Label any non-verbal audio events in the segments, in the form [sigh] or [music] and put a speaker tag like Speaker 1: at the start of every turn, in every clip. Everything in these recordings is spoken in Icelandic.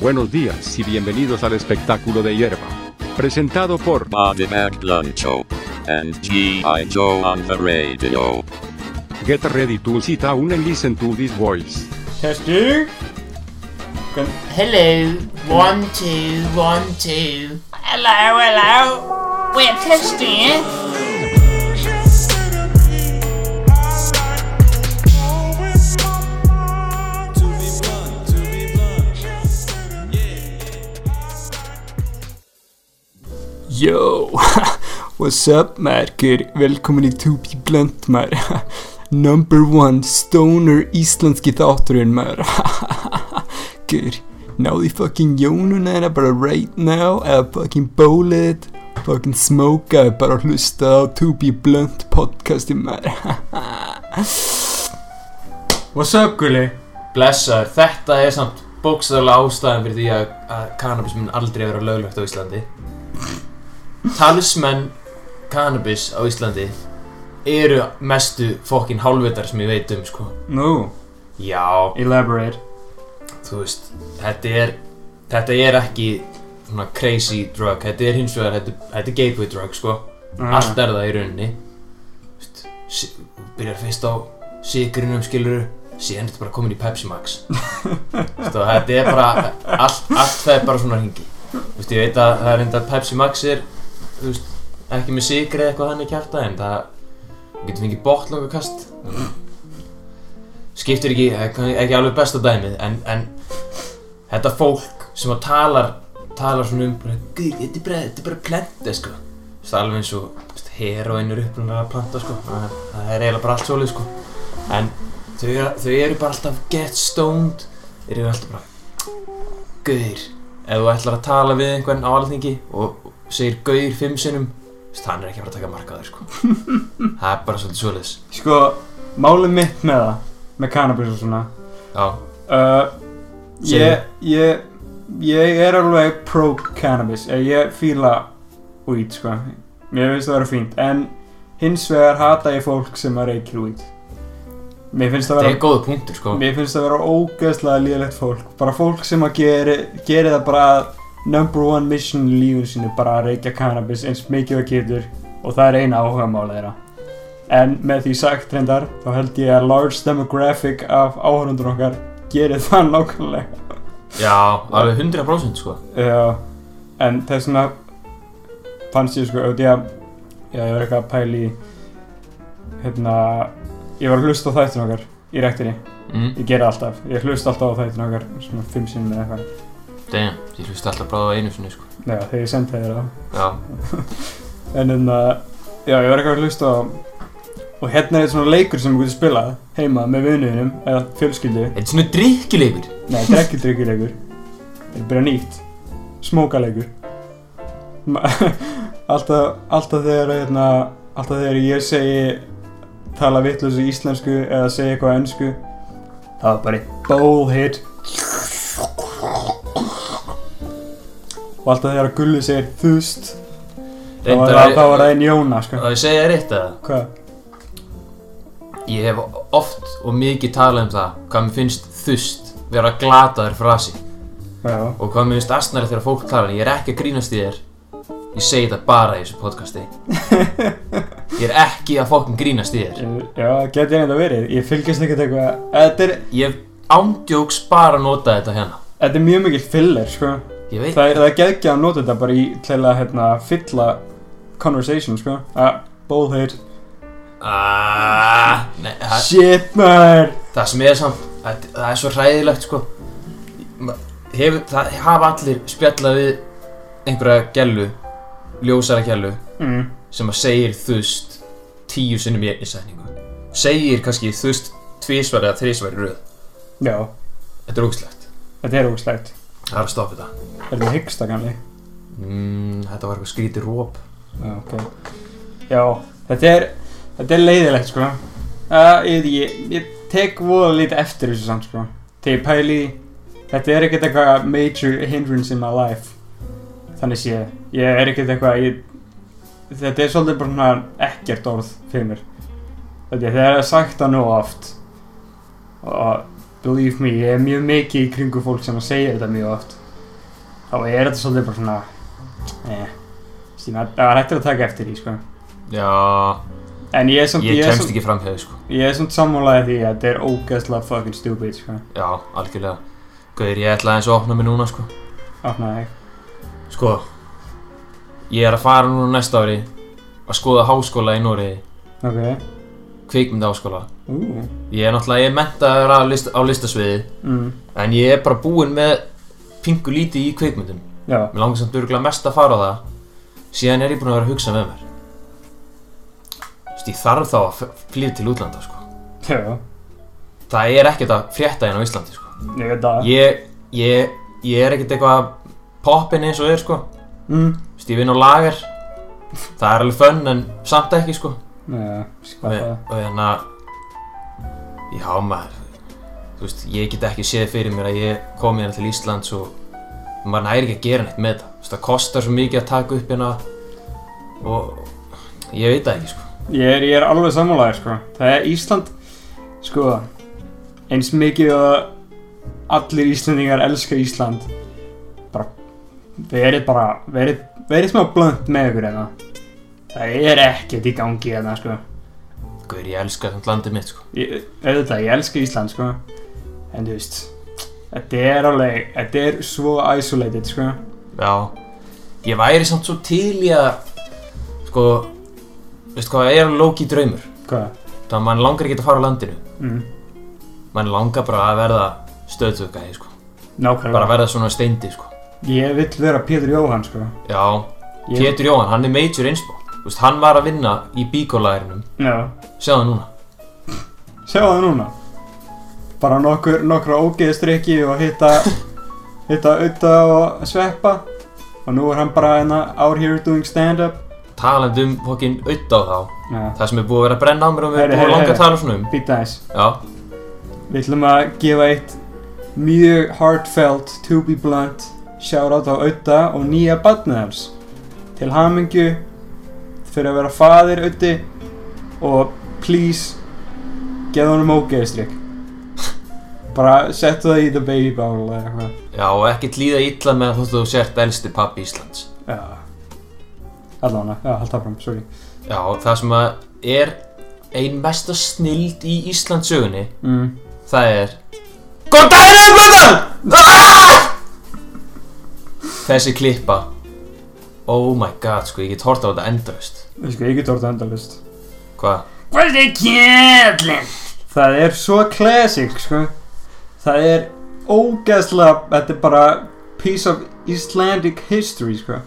Speaker 1: Buenos días y bienvenidos al espectáculo de hierba. Presentado por
Speaker 2: Bobby McFly Show and G.I. Joe on the radio.
Speaker 1: Get Ready to Sit Down and Listen to This Voice.
Speaker 3: Testing. Con-
Speaker 4: Hello, one, two, one, two. Hello, hello. We're testing it.
Speaker 3: Yo, [laughs] what's up märker? Välkommen till To Be Blunt mär. [laughs] Number one stoner isländski þátturinn mär. [laughs] Good. Now they fucking jónun henne bara right now, I fucking bowlet, fucking smoka, bara hlusta á To Be Blunt podcastin mär.
Speaker 5: What's up, Gulli? Blessaður, þetta er samt bókstæðarlega ástæðan fyrir því að, að cannabis mun aldrei vera löglegt á Íslandi. Talismenn cannabis á Íslandi eru mestu fokkin hálfvitar sem ég veit um, sko.
Speaker 3: No,
Speaker 5: Já,
Speaker 3: elaborate.
Speaker 5: þú veist, þetta er, þetta er ekki svona crazy drug, þetta er hins vegar, þetta, þetta er gateway drug, sko.
Speaker 6: Ah.
Speaker 5: Allt er það í rauninni Þú veist, si- þú Byrjar fyrst á sigrinum skiluru Síðan ertu bara komin í Pepsi Max Þú veist, og Þetta er bara allt, allt það er bara svona hringi Þú veist, Ég veit að það er enda Pepsi Max er þú veist, Ekki með sigri eða eitthvað þannig kjarta En það þú getur fengið botlangakast Skiptir ekki, það er kann- ekki alveg besta dæmið En, en þetta fólk sem að talar Talar svona um bara, "Guð, Þetta er bara, þetta er bara plenta sko Þú veist, alveg eins og þú veist, heroin er upprunalega planta sko. það, er- það er eiginlega bara allt svolítið sko. en þau, eru- þau eru bara alltaf get stoned Þeir eru alltaf bara Gauðir, ef þú ætlar að tala við einhvern á alþingi og segir Gauðir fimm sinnum þú veist, hann er ekki að fara að taka
Speaker 6: [laughs]
Speaker 5: markaður sko. það er bara svolítið svolítið
Speaker 6: Sko, málið mitt með það, með cannabis og svona
Speaker 5: já,
Speaker 6: uh,
Speaker 5: Segðu.
Speaker 6: ég, ég, ég er alveg pro-cannabis, Eh, ég fíla weed, sko Mér finnst það vera fínt, en hins vegar hata ég fólk sem að reykir weed Mér finnst það
Speaker 5: það er
Speaker 6: vera,
Speaker 5: góð punktur sko.
Speaker 6: mér finnst það vera ógeðslega lélegt fólk Bara fólk sem að geri, geri það bara að number one mission í lífun sínu Bara að reykja cannabis eins mikið það getur og það er eina áhugamála þeirra En með því sagt reyndar, þá held ég að large demographic af áhörundur okkar gerir [laughs] það nákvæmlega.
Speaker 5: já, alveg 100% sko.
Speaker 6: Já, en þess vegna fannst ég sko, auðvitað að já, ég var eitthvað að pæla í, hérna, ég var að hlusta á þættin okkar í rektinni.
Speaker 5: mm,
Speaker 6: Ég gera alltaf, ég hlusta alltaf á þættin okkar, svona fimm sinnum eða eitthvað.
Speaker 5: damn, ég hlusti alltaf bara á einu sinni sko.
Speaker 6: Já, þegar ég sendi þér það.
Speaker 5: já,
Speaker 6: En hérna, já, ég var eitthvað að hlusta á og hérna er svona leikur sem ég geti spilað heima með vinuðinum eða fjölskyldu
Speaker 5: þetta er svona drikkilegur
Speaker 6: Nei, þetta er ekki drikkilegur Þetta er bara nýtt Smókalegur Ma- [laughs] alltaf, alltaf þegar hérna, Alltaf þegar ég segi Tala vitlausu íslensku Eða segi eitthvað ennsku Það er bara eitt bullhead Og alltaf þegar Gulli segir þust Þá var það- þá var það einn Jóna sko.
Speaker 5: og ég segja þér eitt að
Speaker 6: Hvað?
Speaker 5: Ég hef oft og mikið talað um það hvað mér finnst þust vera glataður frasi
Speaker 6: Já,
Speaker 5: og hvað mér finnst astnæri þegar fólk tala en ég er ekki að grínast í þér ég segi þetta bara í þessu podcasti ég er ekki að fólkum grínast í þér
Speaker 6: Ég- já geti ég þetta verið Ég fylgist ekkert eitthvað Þetta er,
Speaker 5: ég hef ándjóks bara notað þetta hérna
Speaker 6: þetta er mjög mikið filler sko.
Speaker 5: ég veit,
Speaker 6: Það er, það er geggja að nota þetta bara í til að hérna, fylla conversation, sko að bóðheit
Speaker 5: aaaah Ah, nei, það,
Speaker 6: Shit, maður
Speaker 5: það sem er samt það, það er svo hræðilegt sko Ma- hefur, það hafa allir spjallað við einhverja gellu ljósara gellu
Speaker 6: mm.
Speaker 5: sem að segir þust tíu sinnum í einni setningu segir kannski þust tvísvar eða þrísvar í röð
Speaker 6: Já,
Speaker 5: þetta er ógslegt
Speaker 6: þetta er ógslægt
Speaker 5: það er að stoppa þetta
Speaker 6: Er þetta hyggsta kannli?
Speaker 5: mm, þetta var eitthvað skrítið róp
Speaker 6: Já, ok Já, þetta er, þetta er leiðilegt, sko uh, ég, ég, ég tek voða lítið eftir þessu samt, sko Þegar ég pæli í því, Þetta er ekkert eitthvað major hindrance in my life Þannig sé ég Ég er ekkert eitthvað ég, Þetta er svolítið bara svona ekkert orð fyrir mér Þetta er þegar það er sagt það nú oft Og believe me Ég er mjög mikið í kringu fólk sem að segja þetta mjög oft þá er þetta svolítið bara svona eh, sem að- það var hægt að taka eftir því sko.
Speaker 5: Já,
Speaker 6: en ég er samt
Speaker 5: ég
Speaker 6: ég er
Speaker 5: kemst
Speaker 6: samt,
Speaker 5: ekki fram hefði sko
Speaker 6: ég er samt sammálaði því að þetta er ógeðslega fucking stupid sko.
Speaker 5: Já, algjörlega Gauður, ég ætla aðeins að opna mig núna sko
Speaker 6: opnaði
Speaker 5: Sko Ég er að fara núna næsta ári að skoða háskóla í Nóri
Speaker 6: þig ok
Speaker 5: kvikmynda háskóla
Speaker 6: ú
Speaker 5: Ég er náttúrulega, ég er mentaður á, list, á listasviði
Speaker 6: mm,
Speaker 5: en ég er bara búinn með pingu lítið í kvikmyndum
Speaker 6: já
Speaker 5: Mér langar samt örgulega mest að fara á það síðan er ég búinn að vera að hugsa með mér Þú veist, ég þarf þá að f- flytja til útlanda sko
Speaker 6: já
Speaker 5: Það er ekkert að frétta hérna á Íslandi sko
Speaker 6: ég veit það
Speaker 5: Ég, ég, ég er ekkert eitthvað poppin eins og er sko
Speaker 6: mm.
Speaker 5: Þú veist, ég vinn á lager Það er alveg fönn en samt ekki sko
Speaker 6: já sko.
Speaker 5: Og
Speaker 6: skapa
Speaker 5: og hérna Já maður Þú veist, ég get ekki séð fyrir mér að ég kom hérna til Íslands og maður næri ekki að gera neitt með það Þú veist, það kostar svo mikið að taka upp hérna og ég veit það ekki sko
Speaker 6: Ég er, ég er alveg sammálaðir sko. Það er Ísland, sko, eins mikið og allir Íslendingar elska Ísland, bara, verið bara, verið, verið smá blönd með ykkur hérna. Það er ekkert í gangi hérna, sko.
Speaker 5: Guður, ég elska þannig landið mitt sko
Speaker 6: Ég, auðvitað, ég elska Ísland, sko, en þú veist, þetta er alveg, þetta er svo isolated, sko.
Speaker 5: Já Ég væri samt svo til í að sko Veistu hvað, það er lóki draumur
Speaker 6: Hvað?
Speaker 5: Það að mann langar ekki að fara á landinu
Speaker 6: Mm.
Speaker 5: Mann langar bara að verða stöðtökkaði sko Bara að
Speaker 6: Nákvæmlega.
Speaker 5: verða svona steindi sko
Speaker 6: Ég vill vera Pétur Jóhann, sko.
Speaker 5: Já,
Speaker 6: Ég-
Speaker 5: Pétur Jóhann, hann er major einspá Vist, hann var að vinna í bíkólærinum
Speaker 6: Já.
Speaker 5: Sjáðu núna
Speaker 6: Sjá það núna Bara nokkur, nokkra ógeðstrykki og hitta
Speaker 5: [laughs]
Speaker 6: hitta auða og sveppa og nú er hann bara hérna out here doing stand-up
Speaker 5: Talandi um fokkin audd á þá
Speaker 6: Já,
Speaker 5: Það sem er búið að vera að brenna á mér og mér er
Speaker 6: Heyri,
Speaker 5: búið að
Speaker 6: heyri,
Speaker 5: langa
Speaker 6: heyri.
Speaker 5: að tala svona um
Speaker 6: býta aðeins
Speaker 5: Já,
Speaker 6: Við ætlum að gefa eitt mjög heartfelt, to be blunt shoutout á auða og nýja barnið hans til hamingju fyrir að vera faðir auði og please geða honum ógeðstrykk bara settu það í the baby bowl eða eitthvað
Speaker 5: já og ekkert líða illa með að þótt þú sért elsti pappi Íslands
Speaker 6: Já Allána, já, haldt áfram, sorry
Speaker 5: Já, það sem að er ein mesta snild í Íslands sögunni
Speaker 6: mm.
Speaker 5: Það er Góð daginn eða blöndar! Þessi klippa Oh my god, sko, ég get hort á þetta endurist
Speaker 6: Sko, ég get orðið endalist
Speaker 5: Hvað?
Speaker 4: Hvað er kjallin?
Speaker 6: Það er svo classic, sko Það er ógeðslega Þetta er bara piece of Icelandic history, sko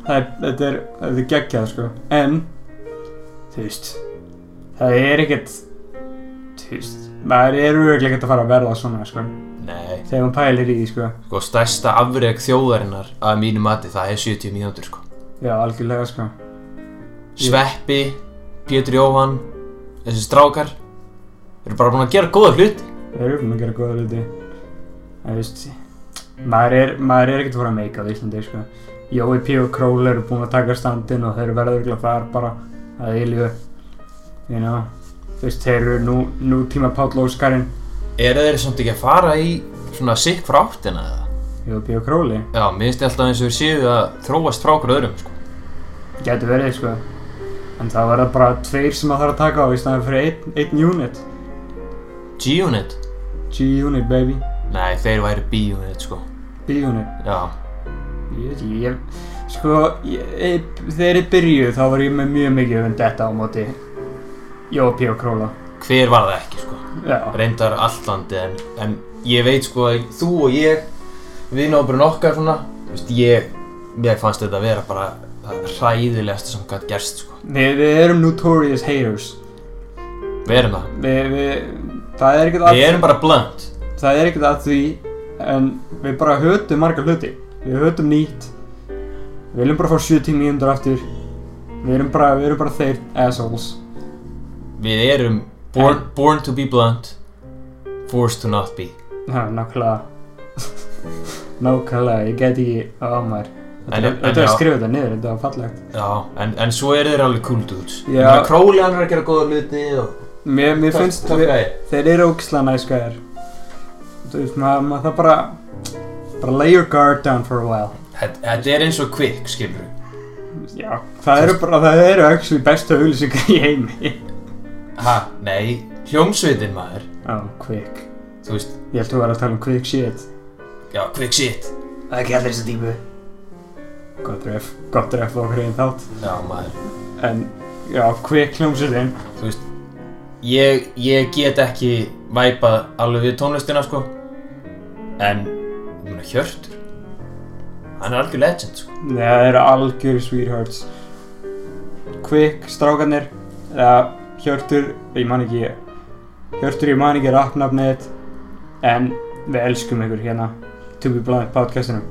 Speaker 6: Það er, þetta er, þetta er geggjað, sko En, þú veist Það er ekkert Þú veist Maður er auðvitað ekkert að fara að verða svona, sko
Speaker 5: Nei
Speaker 6: Þegar maður pælir í því, sko
Speaker 5: Sko, stærsta afreg þjóðarinnar að mínu mati, það er 70 mínútur, sko.
Speaker 6: Já, algjörlega, sko
Speaker 5: Sveppi, Pétur Jóhann, þessi strákar, eru bara búin að gera góða hlut.
Speaker 6: Það eru búin að gera góða hluti Það veist Maður er, maður er ekkert að fara að meika á Íslandi sko. Jói P. og Król eru búin að taka standin og þeir eru verður ekki að fara bara að ylju you know. Þú veist, þeir eru nú, nú tíma Páll Óskarinn
Speaker 5: Eru þeir samt ekki að fara í svona sikk frá áttina eða?
Speaker 6: Jói P. og Króli
Speaker 5: Já, mér finnst alltaf eins og við séu að þróast frá okkur öðrum, sko.
Speaker 6: Gæti verið sko En það verða bara tveir sem að þarf að taka á í staðan fyrir einn ein unit
Speaker 5: G-Unit?
Speaker 6: G-unit baby
Speaker 5: Nei, þeir væri B-Unit, sko.
Speaker 6: B-unit
Speaker 5: Já,
Speaker 6: Ég veit ekki, ég, sko, ég, ég, þegar ég byrjuð þá var ég með mjög mikið um þetta á móti Jópi og Króla.
Speaker 5: hver var það ekki, sko?
Speaker 6: Já,
Speaker 5: Reyndar alltlandi, en, en ég veit, sko, að þú og ég, viðnáðurinn okkar, svona, þú veist, ég, mér fannst þetta að vera bara það hræðilegasta sem gætt gerst, sko.
Speaker 6: við, við erum notorious haters.
Speaker 5: Við erum það.
Speaker 6: Við, við, það er ekkert að,
Speaker 5: Við erum bara blönd.
Speaker 6: það er ekkert að því, en við bara hötum marga hluti. Við hötum nýtt, við viljum bara fá 70 mínútur aftur, við erum bara, við erum bara þeir assholes.
Speaker 5: Við erum born, born to be blunt, forced to not be.
Speaker 6: Já, nákvæmlega, [laughs] nákvæmlega, ég get ekki, á maður.
Speaker 5: En-
Speaker 6: Þetta
Speaker 5: en
Speaker 6: þetta er
Speaker 5: já.
Speaker 6: að skrifa þetta niður, þetta var fallegt.
Speaker 5: Já, en, en svo eru þeir alveg cool dudes.
Speaker 6: Já.
Speaker 5: Já. Króli hann er að gera góða hluti og...
Speaker 6: Mér, mér finnst
Speaker 5: Töff
Speaker 6: við,
Speaker 5: gæi.
Speaker 6: þeir eru ógislega næs gæðir Þú veist, maður mað, það bara bara lay your guard down for a while
Speaker 5: Þetta þetta er eins og kvikk, skilur
Speaker 6: já, það eru bara, það eru actually bestu auglýsingar í heimi [laughs]
Speaker 5: Ha, nei, hljómsveitin maður
Speaker 6: á, Oh, quick
Speaker 5: Þú veist,
Speaker 6: ég held að þú var að tala um quick shit
Speaker 5: já, kvikk shit
Speaker 6: það er ekki allir þessi tímu gott ref, gott ref á hverjum þátt
Speaker 5: Já, maður
Speaker 6: en, já, quick hljómsveitin
Speaker 5: Ég, ég get ekki væpað alveg við tónlistina, sko En, ég meina, Hjörtur Hann er algjör legend, sko
Speaker 6: Nei, það eru algjör sweethearts Quick, strákanir eða Hjörtur, ég man ekki Hjörtur, ég man ekki rapnafnið þitt en við elskum ykkur hérna To Be Blind podcastinum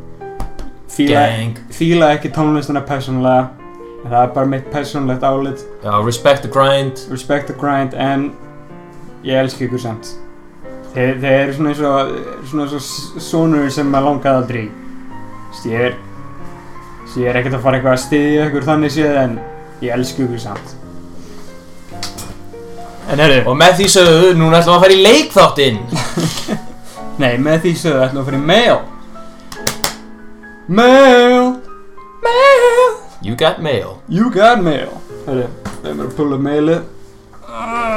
Speaker 6: Fíla,
Speaker 5: Gang
Speaker 6: fíla ekki tónlistina persónulega en það er bara mitt persónulegt álit
Speaker 5: Já, respect the grind
Speaker 6: Respect the grind en ég elski ykkur samt þeir, þeir eru svona eins og svona eins og sonur sem maður langaði aldrei í. Þú veist, ég er þú veist, ég er ekkert að fara eitthvað að styðja ykkur þannig séð en ég elski ykkur samt En herru
Speaker 5: Og með því sögðu, núna ætlum við að fara í leikþáttinn
Speaker 6: Nei, með því sögðu ætlum við að fara í mail Mail Mail
Speaker 5: You got mail
Speaker 6: You got mail Herru, við erum að pulla upp mailið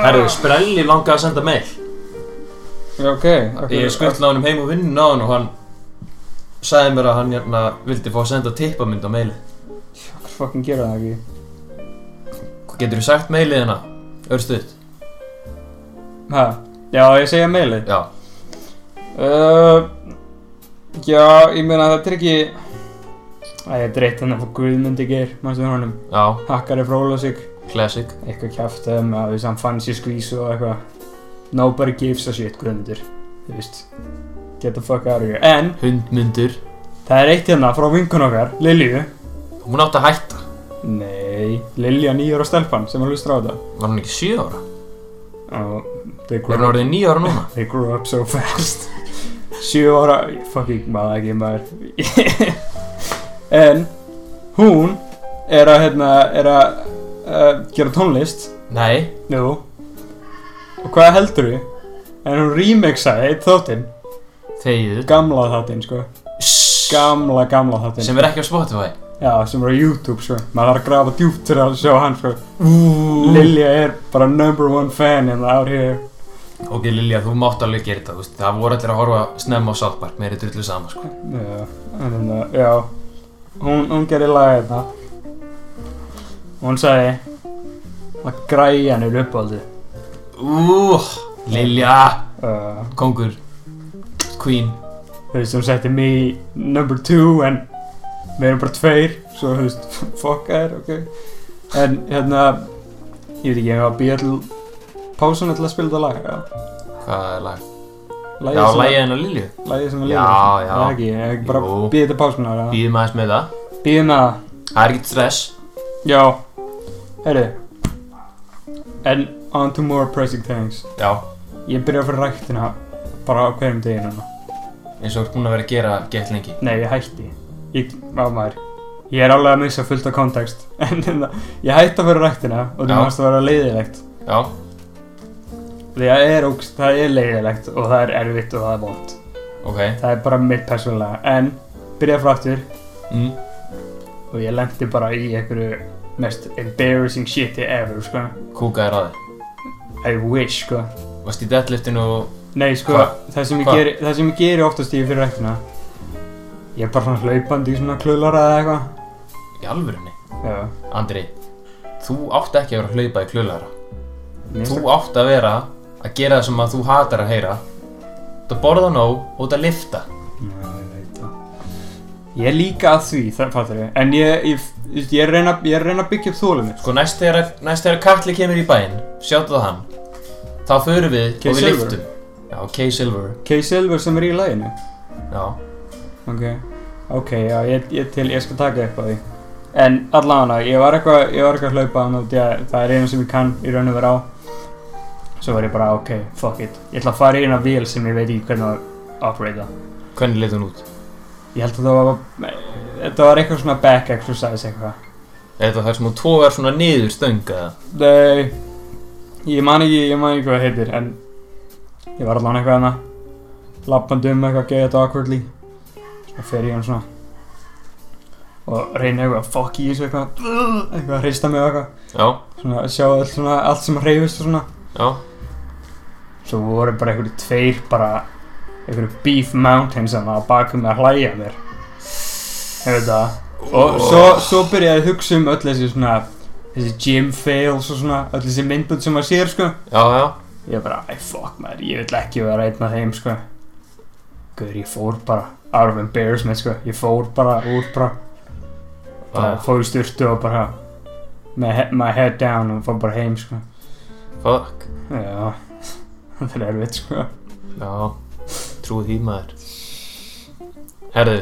Speaker 5: Herru, Sprelli langaði að senda mail
Speaker 6: Já, ok
Speaker 5: Ég skuttla honum heim og vinnu á hann og hann sagði mér að hann hérna vildi fá að senda tippamynd á meili
Speaker 6: Fucking gera það ekki
Speaker 5: Hvað getur þú sagt meilið hérna? Örstuð?
Speaker 6: Hæ? Já, ég segja mailið
Speaker 5: Já
Speaker 6: Uh, já, ég meina þetta er ekki Æ, ég dreitt hann að fá Guðmundi geir, mannstu hann honum
Speaker 5: Já,
Speaker 6: Hakkari Frólasík,
Speaker 5: classic
Speaker 6: eitthvað kjaftum að við saman fancy squeeze og eitthvað Nobody gives a shit Guðmundur, þú veist Get the fuck out of here En,
Speaker 5: Hundmyndur
Speaker 6: það er eitt hérna frá vinkun okkar, Lilju
Speaker 5: Hún átti að hætta
Speaker 6: Nei, Lilja nýjar og stelpan sem að hlustra á þetta
Speaker 5: Var hún ekki 7 ára?
Speaker 6: Og they
Speaker 5: Er hún
Speaker 6: grew,
Speaker 5: orðið 9 ára núna?
Speaker 6: they grew up so fast Sjö ára, fucking maður ekki maður En hún er að, hérna, er að uh, gera tónlist
Speaker 5: Nei
Speaker 6: Jú Og hvað heldur við? En hún remixaði eitt þáttinn
Speaker 5: Þegiðu
Speaker 6: Gamla þáttinn, sko Gamla, gamla þáttinn
Speaker 5: Sem er ekki á Spotify
Speaker 6: Já, sem er á YouTube, sko Maður þarf að grafa djúpt til að sjá hann, sko Lilja er bara number one fan in the out here
Speaker 5: Ok Lilja, þú mátt alveg gera þetta, þú veist Það voru allir að horfa snemma á South Park Mér er drullu sama, sko
Speaker 6: Já, en þannig að, já, hún, hún gerir lagið það. Hún sagði að græjan er uppáldið.
Speaker 5: Úh, Lilja
Speaker 6: Uh,
Speaker 5: Kongur Queen
Speaker 6: þú veist, hún setti mig í number two en við erum bara tveir, svo þú veist, [laughs] fuck þær, ok. En hérna, ég veit ekki, ég var að býja til pásun til að spila þetta lag, já.
Speaker 5: Hvað er lag?
Speaker 6: Lagið
Speaker 5: Já,
Speaker 6: sem-
Speaker 5: lagið hennar Lilju
Speaker 6: Lagið sem að
Speaker 5: Já,
Speaker 6: lifa.
Speaker 5: já.
Speaker 6: Það er ekki, ég er ekki bara
Speaker 5: Jú.
Speaker 6: að býja til pásunar, já.
Speaker 5: Býðum aðeins með það
Speaker 6: Býja með það.
Speaker 5: Það er ekkert stress
Speaker 6: Já, heyrðu En on to more pressing things
Speaker 5: Já
Speaker 6: Ég byrja að fyrir ræktina bara á hverjum degi núna
Speaker 5: eins og þú ert búin að vera að gera gett lengi
Speaker 6: Nei, ég hætti Ég, á maður Ég er alveg að missa fullt af kontekst [laughs] En hérna, ég hætti að fyrir ræktina og
Speaker 5: Já.
Speaker 6: það mást að vera leiðilegt
Speaker 5: Já,
Speaker 6: Því að er, ógst- það er leiðilegt og það er erfitt og það er vond
Speaker 5: ok
Speaker 6: Það er bara mitt persónulega En byrja frá aftur
Speaker 5: mm.
Speaker 6: og ég lendi bara í einhverju mest embarrassing shiti ever, sko
Speaker 5: Kúkaðir á þig
Speaker 6: I wish, sko
Speaker 5: Varst í deadliftinu og...
Speaker 6: Nei, sko,
Speaker 5: Hva?
Speaker 6: það sem, ég
Speaker 5: Hva?
Speaker 6: geri, það sem ég geri oftast í fyrir ræktina Ég er bara svona hlaupandi í svona klölara eða eitthvað
Speaker 5: Í alvörunni
Speaker 6: Já,
Speaker 5: Andri, þú átt ekki að vera að hlaupa í klöðlæra
Speaker 6: mér
Speaker 5: Þú
Speaker 6: finnst
Speaker 5: átt að vera að gera það sem að þú hatar að heyra Þú borða nóg og þú að lifta
Speaker 6: það- Já, ég veit það Ég er líka að því, það fattur ég En ég, ég, þú veist, ég er að reyna, ég er að reyna að byggja upp þólið mitt
Speaker 5: Sko næst þegar, næst þegar Katli kemur í bæinn Sjáttu það hann Þá förum við og við
Speaker 6: K-Silver.
Speaker 5: liftum Já, K-Silver
Speaker 6: K-Silver sem er í læginu
Speaker 5: Já,
Speaker 6: Ok, ok, já, ég, ég til, ég skal taka upp á því En allavega, ég var eitthvað, ég var eitthvað að hlaupa hann út í að það er eina sem ég kann í raun og vera á Svo var ég bara, ok, fuck it Ég ætla að fara í eina vél sem ég veit ekki hvernig að operata
Speaker 5: hvernig leit hún út?
Speaker 6: Ég held að það var, þetta var eitthvað svona back exercise eitthvað.
Speaker 5: Er þetta þar sem hún tógar svona niður stöngaða?
Speaker 6: Nei, ég man ekki, ég man ekki hvað það heitir, en ég var allan eitthvað hana, lappandi um eitthvað, geða þetta awkwardly. og fer í hann svona og reyna eitthvað að fokk í þessu eitthvað eitthvað að hrista mig og eitthvað
Speaker 5: Já,
Speaker 6: svona að sjá allt, svona, allt sem hreyfist og svona
Speaker 5: já,
Speaker 6: svo voru bara einhverju tveir bara einhverju beef mountains sem var bakum með að hlæja að mér hefur þetta og svo, svo byrjaði að hugsa um öll þessi svona þessi gym fails og svona öll þessi myndbönd sem maður sér sko
Speaker 5: já, já
Speaker 6: ég bara, æ fuck maður, ég vil ekki vera einn af þeim sko Guður, ég fór bara out of embarrassment sko ég fór bara út bara, bara
Speaker 5: Ah,
Speaker 6: fór í styrtu og bara my, he- my head down og fór bara heim sko
Speaker 5: Fuck
Speaker 6: já, [laughs] þetta er erfitt sko
Speaker 5: Já, trúið því maður Herðu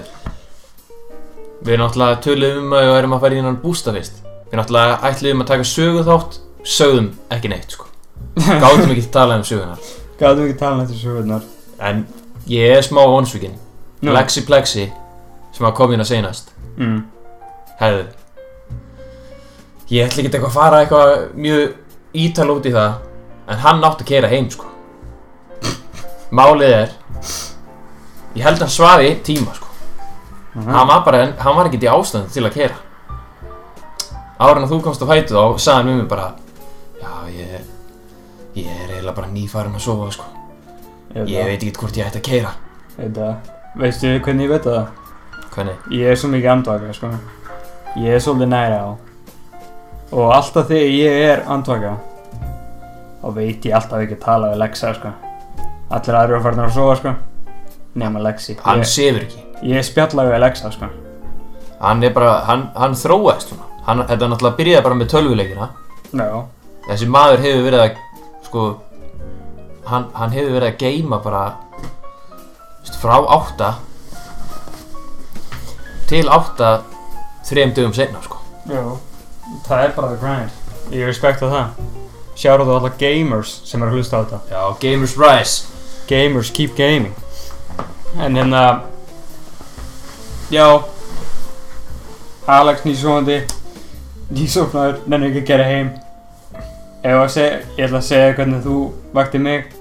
Speaker 5: Við náttúrulega töluðum um að við værum að fara í hennan bústa fyrst Við náttúrulega ætluðum að taka sögu þátt Sögðum ekki neitt sko Gáðum ekki að tala um sögunar
Speaker 6: gætum ekki tala um þetta sögurnar
Speaker 5: En ég er smá vonsvíkin Lexi Plexi Sem að kom hérna seinast
Speaker 6: mm.
Speaker 5: Herðu Ég ætla ekki eitthvað að fara eitthvað mjög ítal út í það En hann átti að keira heim sko Málið er Ég held hann svaði tíma sko
Speaker 6: Mm.
Speaker 5: hann var bara, hann var ekki í ástand til að kera Árinn að þú komst á fætu þá sagði hann við mig bara Já, ég, ég er eiginlega bara nýfarinn að sofa sko
Speaker 6: Hérna.
Speaker 5: Ég veit ekki hvort ég ætti að kera
Speaker 6: þetta, veistu hvernig ég veit það
Speaker 5: Hvernig?
Speaker 6: ég er svo mikið andvaka sko. ég er svolítið næra á og alltaf þegar ég er andvaka þá veit ég alltaf ekki að tala við Lexa sko. allir aðrir eru farin að sofa sko. nema Lexi
Speaker 5: Hann
Speaker 6: ég,
Speaker 5: sefur ekki
Speaker 6: ég spjalla við Lexa sko.
Speaker 5: Hann er bara, hann, hann þróaðist svona hann, Þetta náttúrulega byrjaði bara með tölvuleikina
Speaker 6: Já,
Speaker 5: Þessi maður hefur verið að sko hann, hann hefur verið að geima bara veist, frá átta til átta þrejum dögum seinna sko
Speaker 6: já. það er bara the grind ég respekta það Sjára þú alla gamers sem eru að hlusta á þetta
Speaker 5: Já, Gamers Rise
Speaker 6: Gamers keep gaming En hérna Já Alex nýsofandi Nýsofnaður, nenni ekki að gera heim Ef að segja, ég ætla að segja hvernig þú vakti mig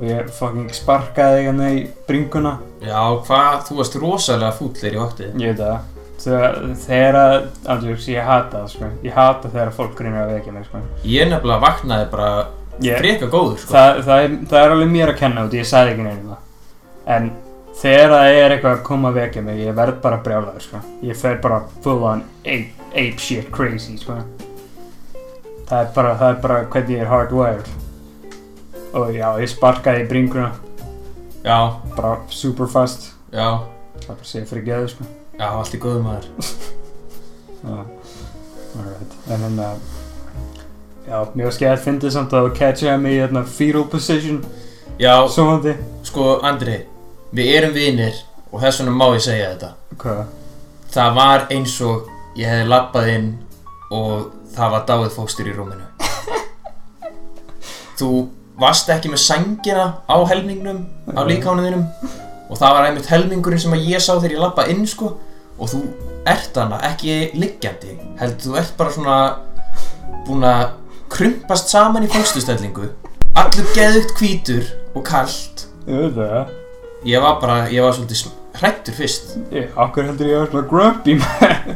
Speaker 6: Og ég fucking sparkaði þig hérna í bringuna
Speaker 5: Já, hvað, þú varst rosalega fúll þegar ég vakti
Speaker 6: Ég veit það Þegar- Þegar að, andjóks, ég hata það sko Ég hata þegar fólk grínir að vekja mig sko
Speaker 5: Ég nefnilega vaknaði bara
Speaker 6: Ég,
Speaker 5: freka góður, sko
Speaker 6: það, það, er, það er alveg mér að kenna út, ég sagði ekki neina það en þegar það er eitthvað að koma að vekja mig, ég verð bara brjálaður sko. ég fer bara full on ape, ape shit crazy sko. það er bara, það er bara hvernig ég er hardwired og já, ég sparkaði í bringuna
Speaker 5: Já,
Speaker 6: bara super fast
Speaker 5: já,
Speaker 6: það er bara sé fyrir geðu sko.
Speaker 5: já, allt í góðum maður
Speaker 6: Já. alright, en þannig að já, mér var skeið að fyndi samt að þú catchaði mig í hérna, fetal position
Speaker 5: Já,
Speaker 6: svoandi,
Speaker 5: sko, Andri, við erum vinir og þess vegna má ég segja þetta
Speaker 6: hvað?
Speaker 5: Það var eins og ég hefði lappað inn og það var dáið fóstur í rúminu. Þú varst ekki með sængina á helmingnum, á líkánuðinum og það var einmitt helmingurinn sem að ég sá þegar ég lappað inn sko og þú ert hana ekki liggjandi, heldur þú ert bara svona búin að krumpast saman í fóstustellingu, allur geðugt hvítur og kalt.
Speaker 6: Ég veit það
Speaker 5: Ég var bara, ég var svolítið hrættur fyrst.
Speaker 6: Ég, okkur heldur ég að vera svona grumpy [laughs] maður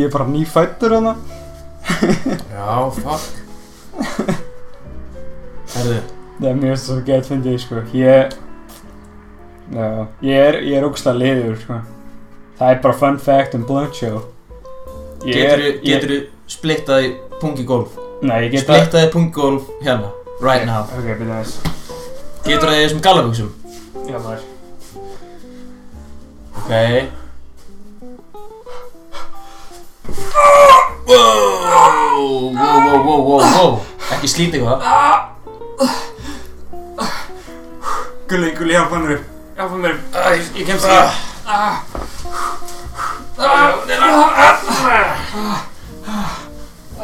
Speaker 6: Ég er bara hérna. nýfættur hana
Speaker 5: Já, fuck
Speaker 6: [laughs]
Speaker 5: Herðu,
Speaker 6: Það er mjög svo gett fyndið, sko Ég Já, ég er, ég er ógstlega liður, sko Það er bara fun fact um Blunt Show Ég er-
Speaker 5: geturðu,
Speaker 6: ég-
Speaker 5: geturðu splittaði pungi gólf
Speaker 6: Nei, ég get það
Speaker 5: Splittaði pungi gólf hérna, right now
Speaker 6: Ok, byrja þess
Speaker 5: Geturðu það í þessum gallabuxum
Speaker 6: Já, maður
Speaker 5: Ok Wow, wow, wow, wow, wow, wow Ekki slíti eitthvað
Speaker 6: Gulli, gulli, hjálpa hann upp Hjálpa mér upp Æ, ég kemst
Speaker 5: Ah.
Speaker 6: ekki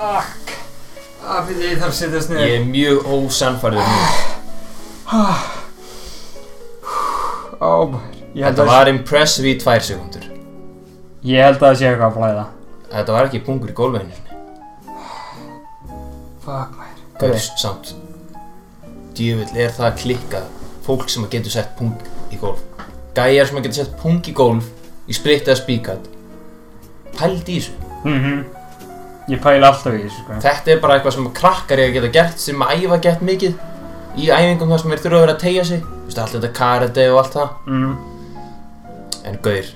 Speaker 6: Ah, byrja, ég þarf að setja þess
Speaker 5: Ég er mjög ósannfærður nú
Speaker 6: Ó, maður Ég held
Speaker 5: Þetta
Speaker 6: að-
Speaker 5: var impressive í tvær sekundur
Speaker 6: ég held að það sé eitthvað að flæða
Speaker 5: Þetta var ekki pungur í gólfinu
Speaker 6: Fuck, maður
Speaker 5: Gauðs samt Djöfull er það klikkað Fólk sem getur sett pung í golf Gæjar sem getur sett pung í golf í spritt eða spíkat pældi í þessu
Speaker 6: Mhm. Ég pæla alltaf í þessu, sko.
Speaker 5: Þetta er bara eitthvað sem krakkar ég að geta gert sem að æfa gett mikið í æfingum þar sem þeir þurfa að vera að tegja sig Þú veist, allt þetta karate og allt það
Speaker 6: Mm.
Speaker 5: En gaur,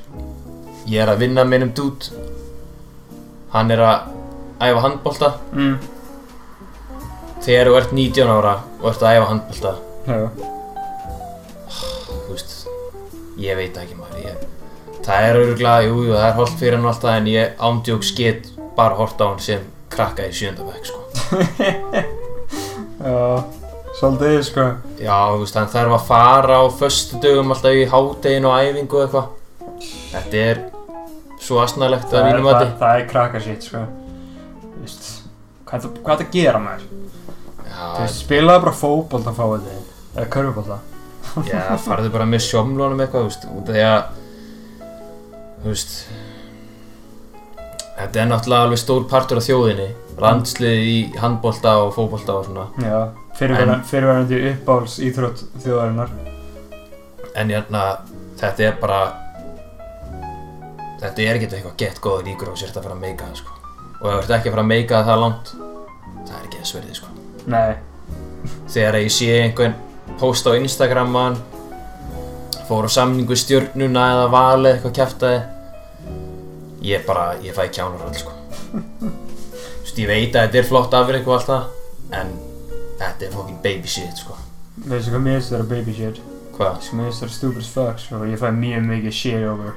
Speaker 5: ég er að vinna með einum dút Hann er að æfa handbolta
Speaker 6: Mm.
Speaker 5: Þegar þú ert 19 ára og ert að æfa handbolta
Speaker 6: Já.
Speaker 5: Þú veist, ég veit það ekki maður ég, Það er örgulega, jú, jú, það er holdt fyrir hann og allt það En ég ándjók skeitt bara hort á hann sem krakka í sjöndabæk, sko
Speaker 6: Já. Svolítið, sko.
Speaker 5: Já, þú veist, hann þarf að fara á föstu dögum alltaf í hádegin og æfingu og eitthvað. Þetta er svo asnalegt að
Speaker 6: er,
Speaker 5: mínum að
Speaker 6: það, það er krakka shit, sko. Þú veist, hvað það, hvað það gera maður? Þú
Speaker 5: þetta.
Speaker 6: veist, spilaðu bara fótbolt að fá þetta. Eða körfubolta.
Speaker 5: Já, já, farðu bara með sjómlunum eitthvað, þú veist, út af því að, þú veist, þetta er náttúrulega alveg stór partur af þjóðinni. Landsliði í handbolta og fótbolta og svona.
Speaker 6: Já. Fyrirverandi, fyrirverandi uppáhalds íþrótt þjóðarinnar.
Speaker 5: En hérna, þetta er bara, þetta er ekkert eitthvað gett góður líkur á sér að fara að meika það, sko. Og ef þú ert ekki að fara að meika það það langt, það er ekki þess verðið, sko.
Speaker 6: Nei.
Speaker 5: þegar ég sé einhvern post á Instagram að hann fór á samningu stjörnuna eða valið eitthvað kæftaði ég bara, ég fæ kjánur all sko Þú veist, ég veit að þetta er flott afrið eitthvað allt það en þetta er fucking baby shit sko
Speaker 6: Veistu hvað mér finnst þetta baby shit?
Speaker 5: hvað?
Speaker 6: Sko, mér finnst þetta stupid as fuck, sko. Ég fæ mjög mikið shit over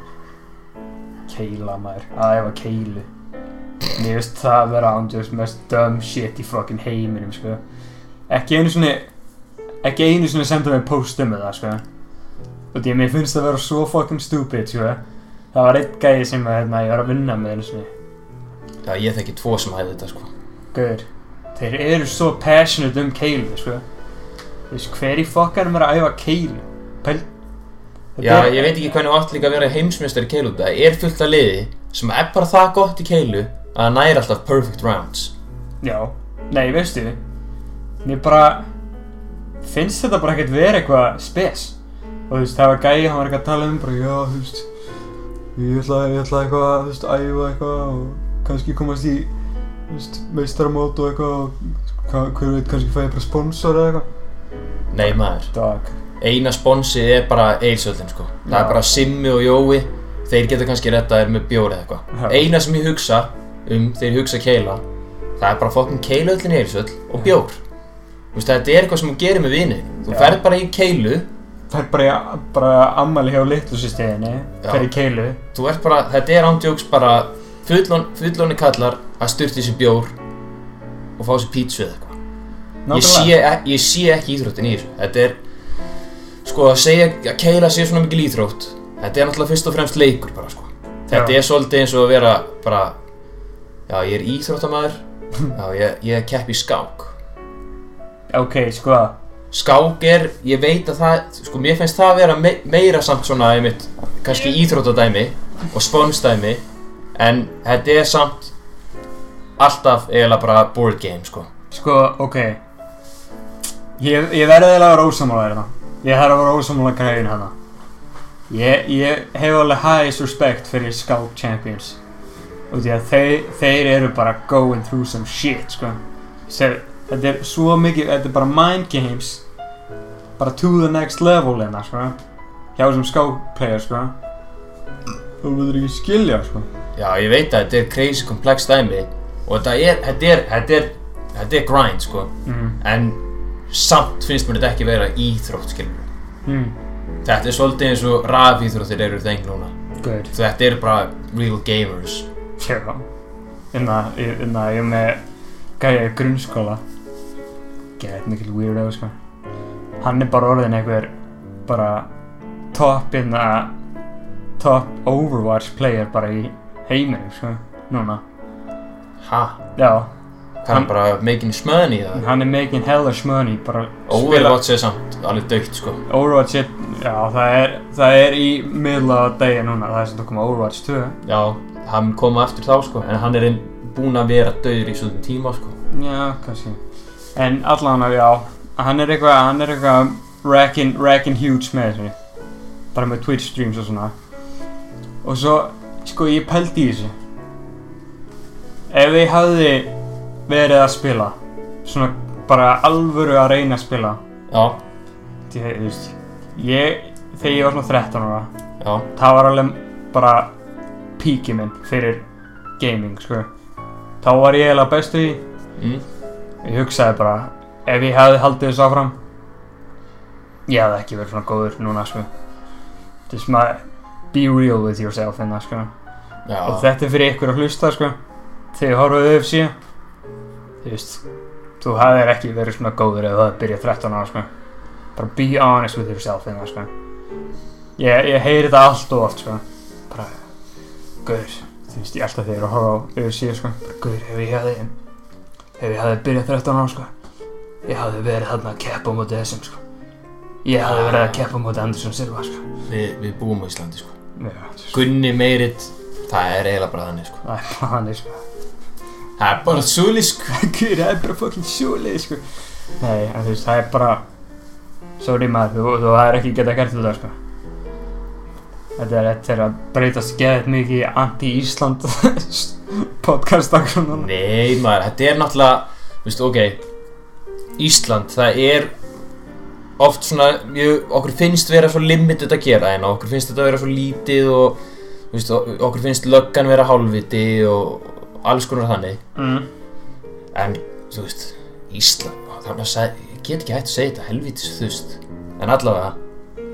Speaker 6: keila maður. Að ef að keilu. Mér finnst það vera ándjóðs mest dumb shit í fucking heiminum, sko. Ekki einu svona, ekki einu svona senda mig post um það, sko. Þú veit, ég- mér finnst það vera svo fucking stupid, sko. Það var einn gæði sem að, hérna, ég var að vinna með einu svona.
Speaker 5: Já, ég þekki tvo sem hæði þetta sko
Speaker 6: Gauður, þeir eru svo passionate um keilu, sko. Þú veist, hver í fokkanum er að æfa keilu? Pæl...
Speaker 5: Já, ég veit ekki hvernig þú átt líka að vera heimsmeistar í keilu það er fullt af liði sem er bara það gott í keilu að það næri alltaf perfect rounds
Speaker 6: Já, nei, veistu, mér bara finnst þetta bara ekkert verið eitthvað spes. Og þú veist, það var gæi, hann var eitthvað að tala um, bara, já, þú veist, ég ætla, ég ætla eitthvað, þú veist, að æfa eitthvað og kannski komast í, þú veist, meistaramót og eitthvað og hva- hver veit, kannski fæ ég bara sponsor eða eitthvað.
Speaker 5: Nei maður
Speaker 6: Dog.
Speaker 5: eina sponsið er bara eilsöldin sko. það
Speaker 6: Já.
Speaker 5: er bara Simmi og Jói þeir geta kannski rettað þér með bjóri eða
Speaker 6: Já.
Speaker 5: eitthvað eina sem ég hugsa um þegar ég hugsa keila það er bara fokkin keilöldin eilsöld og bjór Þú veist, þetta er eitthvað sem þú gerir með vini þú
Speaker 6: Já.
Speaker 5: ferð bara í keilu
Speaker 6: Það er bara, bara ammali hjá litlu sýstiðinni,
Speaker 5: Já.
Speaker 6: fyrir keilu.
Speaker 5: þú ert bara, þetta er ándjóks bara fullon, fullonni kallar að styrta þessi bjór og fá þessi pítsu eða eitthvað ég sé, ek- ég sé ekki íþróttin í þessu þetta er sko að segja að keila sé svona mikil íþrótt þetta er náttúrulega fyrst og fremst leikur bara sko þetta
Speaker 6: Já.
Speaker 5: er svolítið eins og að vera bara já ég er íþróttamæður [laughs] já ég, ég kepp í skák
Speaker 6: Ok, sko,
Speaker 5: skák er, ég veit að það sko mér finnst það að vera me meira samt svona einmitt, kannski íþróttadæmi og spónsdæmi en þetta er samt alltaf eiginlega bara board game sko
Speaker 6: sko, ok. Ég, ég verði eiginlega að vera ósamála hérna. Ég þarf að vera ósamála græðin hérna. Ég, ég hef alveg highest respect fyrir Scout Champions. Og því að þeir, þeir eru bara going through some shit, sko. Sér, þetta er svo mikið, þetta er bara mind games. Bara to the next level hérna, sko. Hjá þessum Scout player, sko. Þú verður ekki skilja, sko.
Speaker 5: Já, ég veit að þetta er crazy komplex dæmi og þetta er, þetta er, þetta er, þetta er grind, sko.
Speaker 6: Mm.
Speaker 5: En samt finnst mér þetta ekki vera íþrótt, skilur.
Speaker 6: Mm.
Speaker 5: Þetta er svolítið eins og rafíþróttir eru þeng núna.
Speaker 6: Good.
Speaker 5: Þetta eru bara real gamers.
Speaker 6: Já, inna, ég- inna ég er með gæja í grunnskóla Gæðið mikil weirdo, sko Hann er bara orðin einhver bara top inna top overwatch player bara í heiminum, sko, núna
Speaker 5: Ha?
Speaker 6: Já,
Speaker 5: Hvað er hann bara making his money eða?
Speaker 6: hann er making hellish money bara
Speaker 5: Overwatch er samt alveg dögt, sko.
Speaker 6: Overwatch er, já, það er, það er í miðla degi núna, það er sem þú koma Overwatch 2
Speaker 5: Já, hann kom aftur þá, sko. En hann er einn búinn að vera döður í svolítið tíma, sko.
Speaker 6: Já, kannski En allan að já Hann er eitthvað, hann er eitthvað Rackin', rackin' huge með þessu Bara með Twitch streams og svona og svo sko ég pældi í þessu ef ég hafði verið að spila svona bara alvöru að reyna að spila
Speaker 5: Já,
Speaker 6: því að, þú veist ég, þegar ég var svona 13 ára
Speaker 5: já,
Speaker 6: það var alveg bara píki minn fyrir gaming sko. þá var ég eiginlega bestu í
Speaker 5: Mm.
Speaker 6: ég hugsaði bara ef ég hefði haldið þessu áfram ég hefði ekki verið svona góður núna sko. just my, be real with yourself inna, sko.
Speaker 5: já.
Speaker 6: og þetta er fyrir ykkur að hlusta sko. þegar horfaðu UFC þú veist þú hefðir ekki verið svona góður ef þú hefði byrjað 13 ára sko. bara be honest with yourself inna, sko. ég, ég heyri þetta allt og oft sko. bara gaur þú veist ég alltaf þegar ég er að horfa á UFC sko. bara gaur ef ég hefði ef ég hefði byrjað 13 ára sko. ég hefði verið þarna að keppa á móti þessum sko. ég hefði verið að keppa á móti Anderson Silva sko.
Speaker 5: Við, við búum á Íslandi, sko.
Speaker 6: Já, sko.
Speaker 5: Gunni meirit, það er eiginlega bara þannig, sko.
Speaker 6: Það er bara þannig, sko.
Speaker 5: Það er bara svolí, sko.
Speaker 6: Guður, það er bara fucking sjóleið, sko. Nei, en þú veist, það er bara... Sorry maður, þú, þú er ekki getað gert þetta, sko. Þetta er, þetta er að breytast geðið mikið í anti-Ísland [laughs] podcast akkur núna.
Speaker 5: Nei, maður, þetta er náttúrulega, þú veist, ok, Ísland, það er oft svona, mjög, okkur finnst vera svo limited að gera hérna, okkur finnst þetta vera svo lítið og, þú veist, ok- okkur finnst löggan vera hálfviti og alls konar þannig.
Speaker 6: Mm.
Speaker 5: En, þú veist, Ísland, þannig að segja, ég get ekki hægt að segja þetta helvitis þust. En allavega,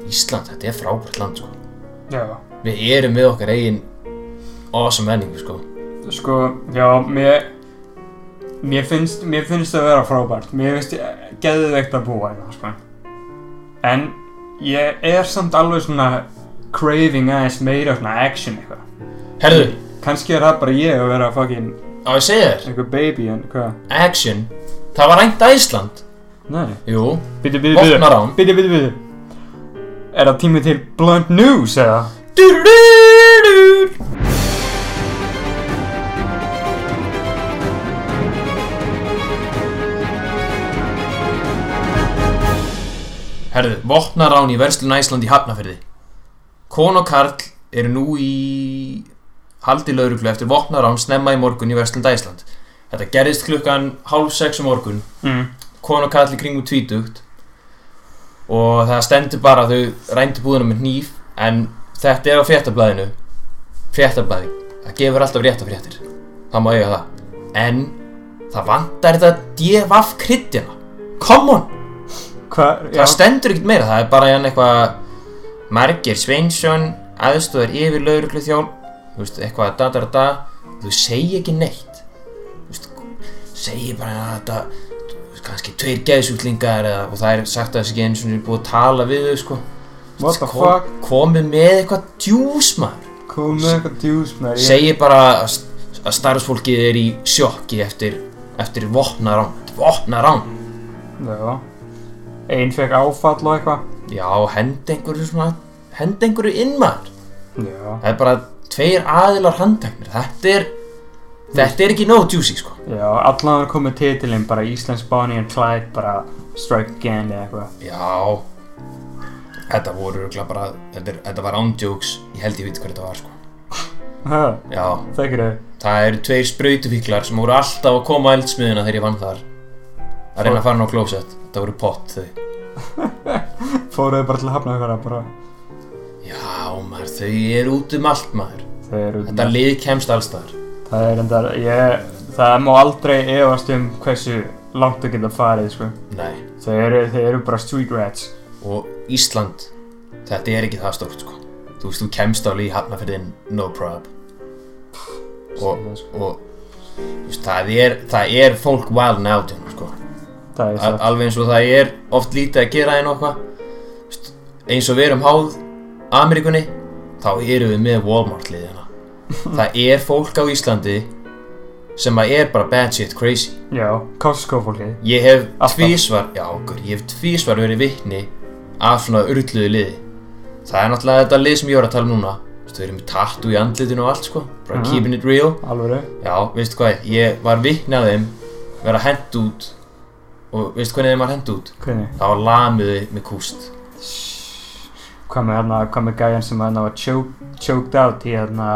Speaker 5: Ísland, þetta er frábært land, sko.
Speaker 6: Já.
Speaker 5: Við erum með okkar eigin awesome menningu, sko.
Speaker 6: Sko, já, mér... Mér finnst, mér finnst það að vera frábært. Mér finnst geðið veikt að búa hérna, sko. En ég er samt alveg svona craving aðeins meira svona action eitthvað.
Speaker 5: Herðu,
Speaker 6: Kanski er það bara ég að vera fucking
Speaker 5: á ég að segja þér,
Speaker 6: einhver baby en hvað?
Speaker 5: action, það var rænt að Ísland.
Speaker 6: Nei.
Speaker 5: Jú,
Speaker 6: Bítu, bítu, bítu.
Speaker 5: vopnarán.
Speaker 6: Bítu, bítu, bítu. Er það tími til Blunt News eða?
Speaker 5: Du-du-du-du. Herðu, vopnarán í verslun Æsland í Hafnafyrði. Kon og Karl eru nú í haldi lauruglu eftir vopnarán snemma í morgun í verslun Æsland. Þetta gerðist klukkan hálf sex um morgun
Speaker 6: Mm.
Speaker 5: konu og kall í kringum tvítugt og það stendur bara að þau rændu búðina með hníf en þetta er á fréttablaðinu fréttablaði, það gefur alltaf rétta fréttir það má eiga það en það vantar þetta devaf kryddina, come on
Speaker 6: Hvað?
Speaker 5: það stendur ekkert meira, það er bara hérna eitthvað Margir Sveinsson aðstóðar yfir lauruglu þjón þú veist, eitthvað da da da da þú segi ekki neitt þú veist, segi bara að þetta þú veist, kannski tveir geðsúklingar eða, og það er sagt að þessi ekki eins og er búið að tala við þau sko
Speaker 6: What the fuck?
Speaker 5: komið með eitthvað djús maður
Speaker 6: Kom með eitthvað djús með ég.
Speaker 5: segi bara að, st- að starfsfólkið er í sjokki eftir, eftir vopnarán vopnarán
Speaker 6: Já. Einn fekk áfall og eitthvað.
Speaker 5: Já, henda einhverju svona henda einhverju inn maður
Speaker 6: Já.
Speaker 5: Það er bara tveir aðilar handteknir Þetta er Þetta er ekki nóg juicy sko
Speaker 6: Já, allan er komið titilinn bara Íslands Bonnie and Clyde bara Strike Again eða eitthvað.
Speaker 5: Já Þetta voru örugglega bara Þetta, er, þetta var ándjóks Ég held ég veit hvað þetta var sko
Speaker 6: Ha,
Speaker 5: Já
Speaker 6: Þekkir þau?
Speaker 5: Það eru tveir sprautufíklar sem voru alltaf að koma að eldsmiðina þegar ég vann þar að reyna að fara ná klósett Þetta voru pott þau
Speaker 6: Fóruðu bara til að hafna eitthvað bara.
Speaker 5: Já maður þau eru út um allt maður
Speaker 6: Þau eru
Speaker 5: Þetta lið kemst allstaðar
Speaker 6: Það er endar, ég, það má aldrei efast um hversu langt þau geta farið, sko.
Speaker 5: Nei
Speaker 6: Þau eru, þau eru bara street rats.
Speaker 5: og Ísland þetta er ekki það stórt sko þú veist, þú kemst alveg í hafnafyrðin no prob og,
Speaker 6: sko,
Speaker 5: og þú veist, það er það er fólk wild now djón, sko.
Speaker 6: Það er
Speaker 5: Al-
Speaker 6: það.
Speaker 5: alveg eins og það er oft lítið að gera en okkar eins og við erum háð Ameríkunni þá erum við með Walmart
Speaker 6: [laughs]
Speaker 5: liðina það er fólk á Íslandi sem að er bara bad shit crazy
Speaker 6: Já, Costco fólkið.
Speaker 5: Ég hef
Speaker 6: Alltaf.
Speaker 5: tvísvar, já okkur, ég hef tvísvar verið vitni af svona urluðu liði. Það er náttúrulega þetta lið sem ég var að tala um núna. Þú veist, við erum með tattoo í andlitinu og allt sko, bara keeping it real.
Speaker 6: Alvöru.
Speaker 5: Já, veistu hvað, ég var vitni að þeim vera hent út og veistu hvernig þeim var hent út?
Speaker 6: Hvernig?
Speaker 5: Það var lamiði með kúst.
Speaker 6: Hvað með hérna, hvað með gæjan sem hérna var choke, choked out í hérna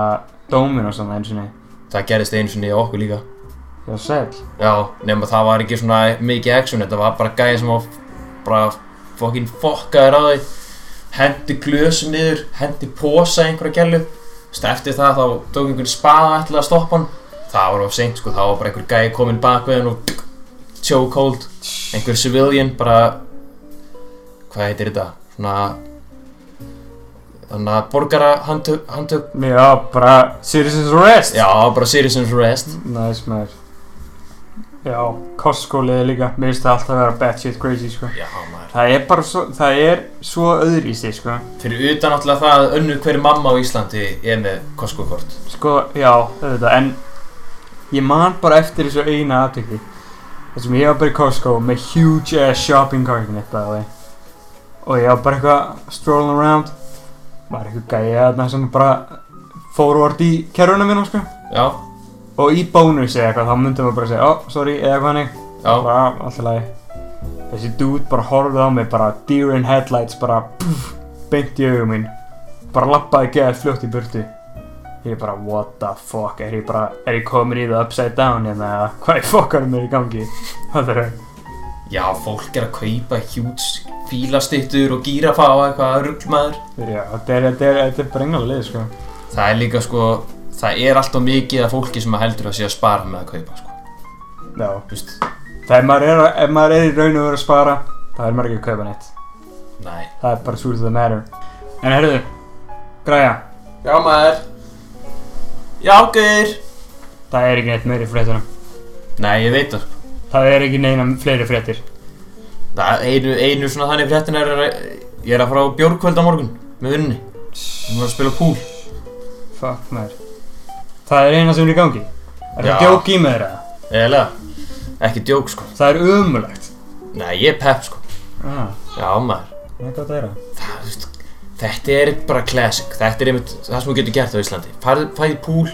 Speaker 6: dómin og svona eins og niður.
Speaker 5: Það gerðist einu sinni á okkur líka
Speaker 6: Já, sæl.
Speaker 5: Já, nema það var ekki svona mikið action Þetta var bara gæði sem var bara fokkin fokkaður á því Hendi glösu niður, hendi posa í einhverja gælu Eftir það þá tók einhvern spaða ætlaði að stoppa hann Það var of seint sko, þá var bara einhver gæði kominn bak við hann og chokehold Einhver civilian bara Hvað heitir þetta? Svona Þannig að borgara handtök, handtök
Speaker 6: Já, bara Citizens Arrest.
Speaker 5: Já, bara citizens arrest
Speaker 6: Næs maður. Já, kostskólið er líka, mér finnst það alltaf að vera batshit crazy, sko.
Speaker 5: Já, maður
Speaker 6: Það er bara svo, það er svo öðrísi, sko.
Speaker 5: Fyrir utan alltaf það að önnu hverju mamma á Íslandi er með Costco-kort.
Speaker 6: Sko, já, auðvitað, en ég man bara eftir þessu eina aðtökki. Þessum ég var bara í Costco með huge ass shopping cart hérna mitt, by the way. Og ég var bara eitthvað strolling around. Var eitthvað gæja þarna sem bara fórvort í kerfuna mínu, sko.
Speaker 5: Já,
Speaker 6: Og í bónus eða eitthvað, þá myndum við bara að segja, oh, sorry, eða eitthvað hannig.
Speaker 5: já,
Speaker 6: Bara, allt í lagi. Þessi dude bara horfði á mig, bara deer in headlights, bara pff, beint í augum mín. Bara lappaði geðað fljótt í burtu. Ég er bara, what the fuck, er ég bara, er ég komin í það upside down hérna, eða hvað er fokkarum mér í gangi? Það er,
Speaker 5: já, fólk er að kaupa huge fílastittur og gírafa og eitthvað rullmaður.
Speaker 6: já, þetta er, þetta er, þetta er bara engan lið, sko.
Speaker 5: Það er líka sko, það er alltaf mikið af fólki sem heldur að sé að spara með að kaupa, sko.
Speaker 6: Já,
Speaker 5: Þú veist,
Speaker 6: þegar maður er, að- ef maður er í raun og verið að spara, þá er maður ekki að kaupa neitt.
Speaker 5: nei.
Speaker 6: Það er bara sure to the matter. En herruðu, græja,
Speaker 5: Já, maður. Já, gauður.
Speaker 6: það er ekki neitt meiri fréttunum.
Speaker 5: Nei, ég veit það, sko.
Speaker 6: Það er ekki neina fleiri fréttir.
Speaker 5: Það einu, einu svona þannig fréttin er að ég er að fara á bjórkvöld á morgun með unni. Við erum að spila pool.
Speaker 6: Fuck maður Það er eina sem er í gangi Er
Speaker 5: Já.
Speaker 6: það djók í með það?
Speaker 5: Eða, ekki djók, sko.
Speaker 6: Það er umulagt
Speaker 5: Nei, ég er pepp, sko.
Speaker 6: ah,
Speaker 5: Já, maður.
Speaker 6: Það er gott að heyra
Speaker 5: það, þú veist, þetta er bara classic þetta er einmitt það sem þú getur gert á Íslandi farðu, fæði [laughs] púl,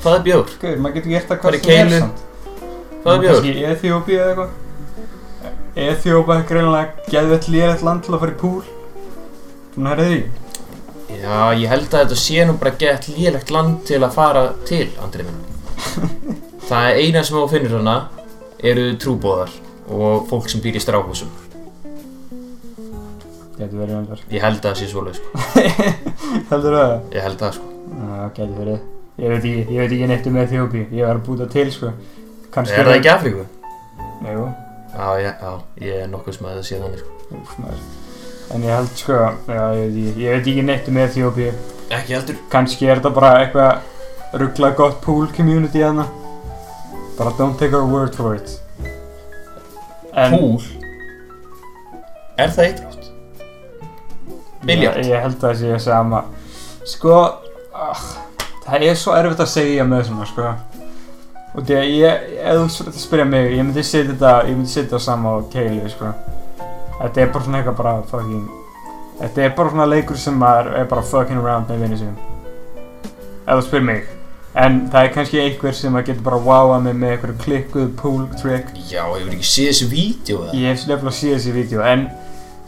Speaker 5: fæði bjór
Speaker 6: Guður, maður getur gert það
Speaker 5: Bara í keilu, fæði bjór,
Speaker 6: Kanski í Eþjópi eða eitthvað Eþjópa er greinlega geðvett lýrætt land til að fara í púl Svona herrið því
Speaker 5: já, ég held að þetta sé nú bara gett lélegt land til að fara til, Andri [laughs] minn það er eina sem þú finnur hana eru trúbóðar og fólk sem býr í stráhúsum
Speaker 6: Getur verið öndar
Speaker 5: ég held að það sé svoleið, sko
Speaker 6: [laughs] Heldur það?
Speaker 5: ég held það, sko
Speaker 6: Já, getur verið Ég veit ekki, ég veit ekki neitt um Eþjópi Ég var að búta til sko Kannski
Speaker 5: er það ekki Afríku?
Speaker 6: Nei, jú
Speaker 5: já, ég, já, ég er nokkuð sem að það sé þannig, sko
Speaker 6: Úf, maður En ég held sko, já, ég veit ekki, ég veit ekki neitt um Eþjópi
Speaker 5: ekki heldur
Speaker 6: kannski er þetta bara eitthvað ruggla gott pool community hérna bara don't take our word for it en
Speaker 5: púl er það eitrátt? biljard?
Speaker 6: ég, ég held að það sé sama sko ah, það er svo erfitt að segja með svona sko og því að ég, ef þú spyrir- spyrja mig ég myndi setja þetta, ég myndi setja þetta sama á keilu sko þetta er bara svona eitthvað bara fucking þetta er bara svona leikur sem maður er bara fucking around með vinni sínum ef þú spyrir mig en það er kannski einhver sem maður getur bara wowað mig með einhverju klikkuð pool trick
Speaker 5: Já, hefur ekki séð þessi vídeo eða?
Speaker 6: Ég hef nefnilega séð þessi vídeo en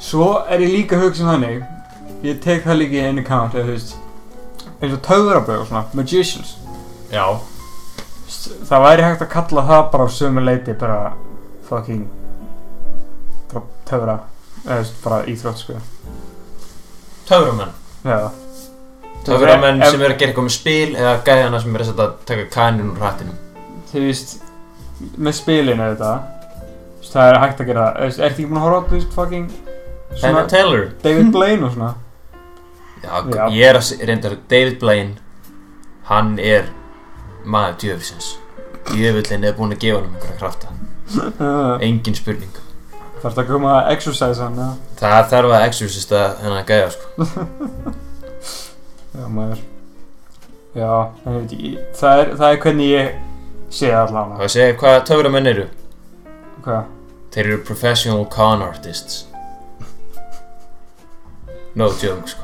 Speaker 6: svo er ég líka að hugsa um þannig ég tek það líka í einu count eða þú veist eins og töfrabröð og svona magicians
Speaker 5: Já,
Speaker 6: S- það væri hægt að kalla það bara á sömu leiti bara fucking bara töfra eða þú veist bara íþrótt sko
Speaker 5: töframenn.
Speaker 6: já
Speaker 5: Töframenn
Speaker 6: Ef-
Speaker 5: sem eru að gera eitthvað með spil eða gæðana sem eru að setja- taka kaninn úr hattinum.
Speaker 6: þú veist með spilinu auðvitað þú veist, það er hægt að gera það Þú veist, ertu ekki búin að horfa á þú veist fucking
Speaker 5: Penn
Speaker 6: svona
Speaker 5: Teller.
Speaker 6: David Blaine og svona
Speaker 5: Já,
Speaker 6: Já.
Speaker 5: ég er að se- reynda David Blaine, hann er maður djöfisins. Djöfullin er búinn að gefa hann einhverja krafta.
Speaker 6: uh,
Speaker 5: Engin spurning.
Speaker 6: þarf að koma að exercise hann eða
Speaker 5: Það þarf að exorcista hennar gæða, sko.
Speaker 6: Já, maður Já, en ég veit ekki Það er, það er hvernig ég sé það allavega
Speaker 5: Það að segja hvað töframenn eru.
Speaker 6: Hvað?
Speaker 5: Þeir eru professional con artists. No joke, sko.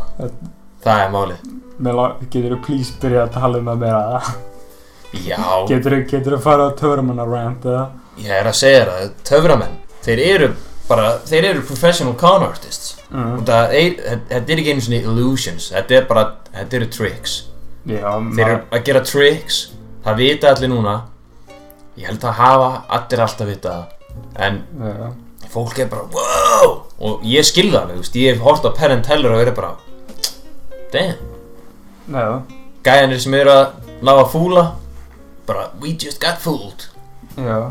Speaker 5: Það er málið.
Speaker 6: Mér lá, getur þú please byrja að tala um það meira
Speaker 5: Já.
Speaker 6: Getur þú, getur þú fara á törumanna rant eða?
Speaker 5: Ég er að segja þér að töframenn, þeir eru bara, þeir eru professional con artists
Speaker 6: Mm.
Speaker 5: og það er, þetta er ekki einu svona illusions, þetta er bara, þetta eru tricks
Speaker 6: Já,
Speaker 5: þeir eru
Speaker 6: maður
Speaker 5: að gera tricks, það vita allir núna ég held að hafa allir alltaf vita það en
Speaker 6: Já,
Speaker 5: fólk er bara wow og ég skilða alveg, þú veist, ég hef hort á Penn Teller og er bara damn,
Speaker 6: já,
Speaker 5: gæjanir sem eru að lága fúla bara, we just got fooled
Speaker 6: já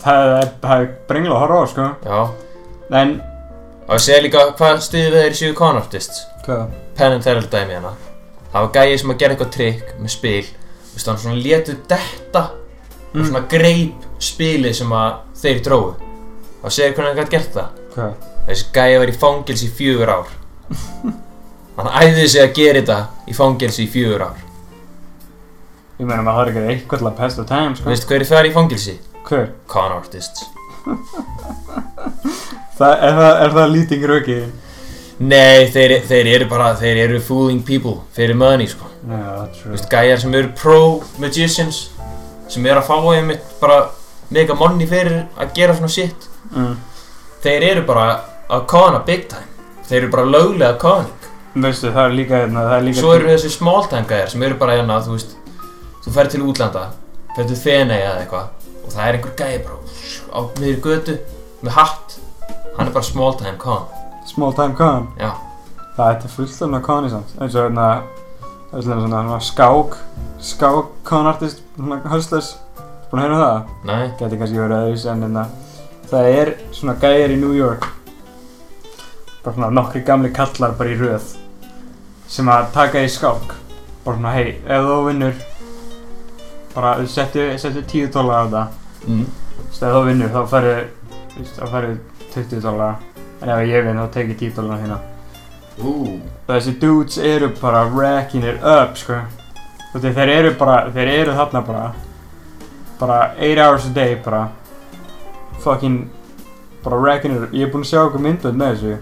Speaker 6: Það er, það er brengla að horfa á, sko
Speaker 5: já,
Speaker 6: En,
Speaker 5: og ég segi líka hvað stuðið við þeir séu con artists
Speaker 6: hvað?
Speaker 5: Penn and Teller dæmi hérna það var gæið sem að gera eitthvað trikk með spil þú veist, hann svona letu detta og svona greip spilið sem að þeir dróðu og segir hvernig hann gætt gert það
Speaker 6: Hvað?
Speaker 5: þessi gæið var í fangils í fjögur ár hann æði sig að gera þetta í fangils í fjögur ár
Speaker 6: Ég meina maður þarf ekki að eitthvað til að pesta time, sko
Speaker 5: veistu hver er það í fangilsi?
Speaker 6: Hver?
Speaker 5: Con artists
Speaker 6: Það, er það, er það lýting röki?
Speaker 5: nei, þeir, þeir eru bara þeir eru fooling people fyrir money sko
Speaker 6: Já, true
Speaker 5: Þú veist, gæjar sem eru pro magicians sem eru að fá einmitt bara mega money fyrir að gera svona shit
Speaker 6: Mm.
Speaker 5: þeir eru bara að kona big time þeir eru bara löglega koning
Speaker 6: Veistu, það er líka, hérna, það er líka
Speaker 5: svo eru þessi small time gæjar sem eru bara hérna, þú veist þú fer til útlanda, fer til Fenei eða eitthvað og það er einhver gæjar bara á miður götu með hatt hann er bara small time con
Speaker 6: Small time con
Speaker 5: Já.
Speaker 6: Það þetta er fullt af koni samt eins og hérna eins og hérna svona svona skák skák konartist svona hustlers búin að heyra um það
Speaker 5: nei,
Speaker 6: geti kannski verið öðruvísi en hérna það er svona gæjar í New York bara svona nokkri gamli kallar bara í röð sem að taka í skák bara svona hei ef þú vinnur bara settu, settu 10 dólar á þetta
Speaker 5: mm.
Speaker 6: Þú veist, ef þú vinnur þá færðu, þú veist, þá færðu 20 dólar en ef ég vinn þá tek ég 10 dólar hérna. Þessi dudes eru bara racking it up, sko. Þú veist, þeir eru bara, þeir eru þarna bara, bara 8 hours a day, bara, fucking, bara racking it up. Ég er búinn að sjá okkur myndbönd með þessu.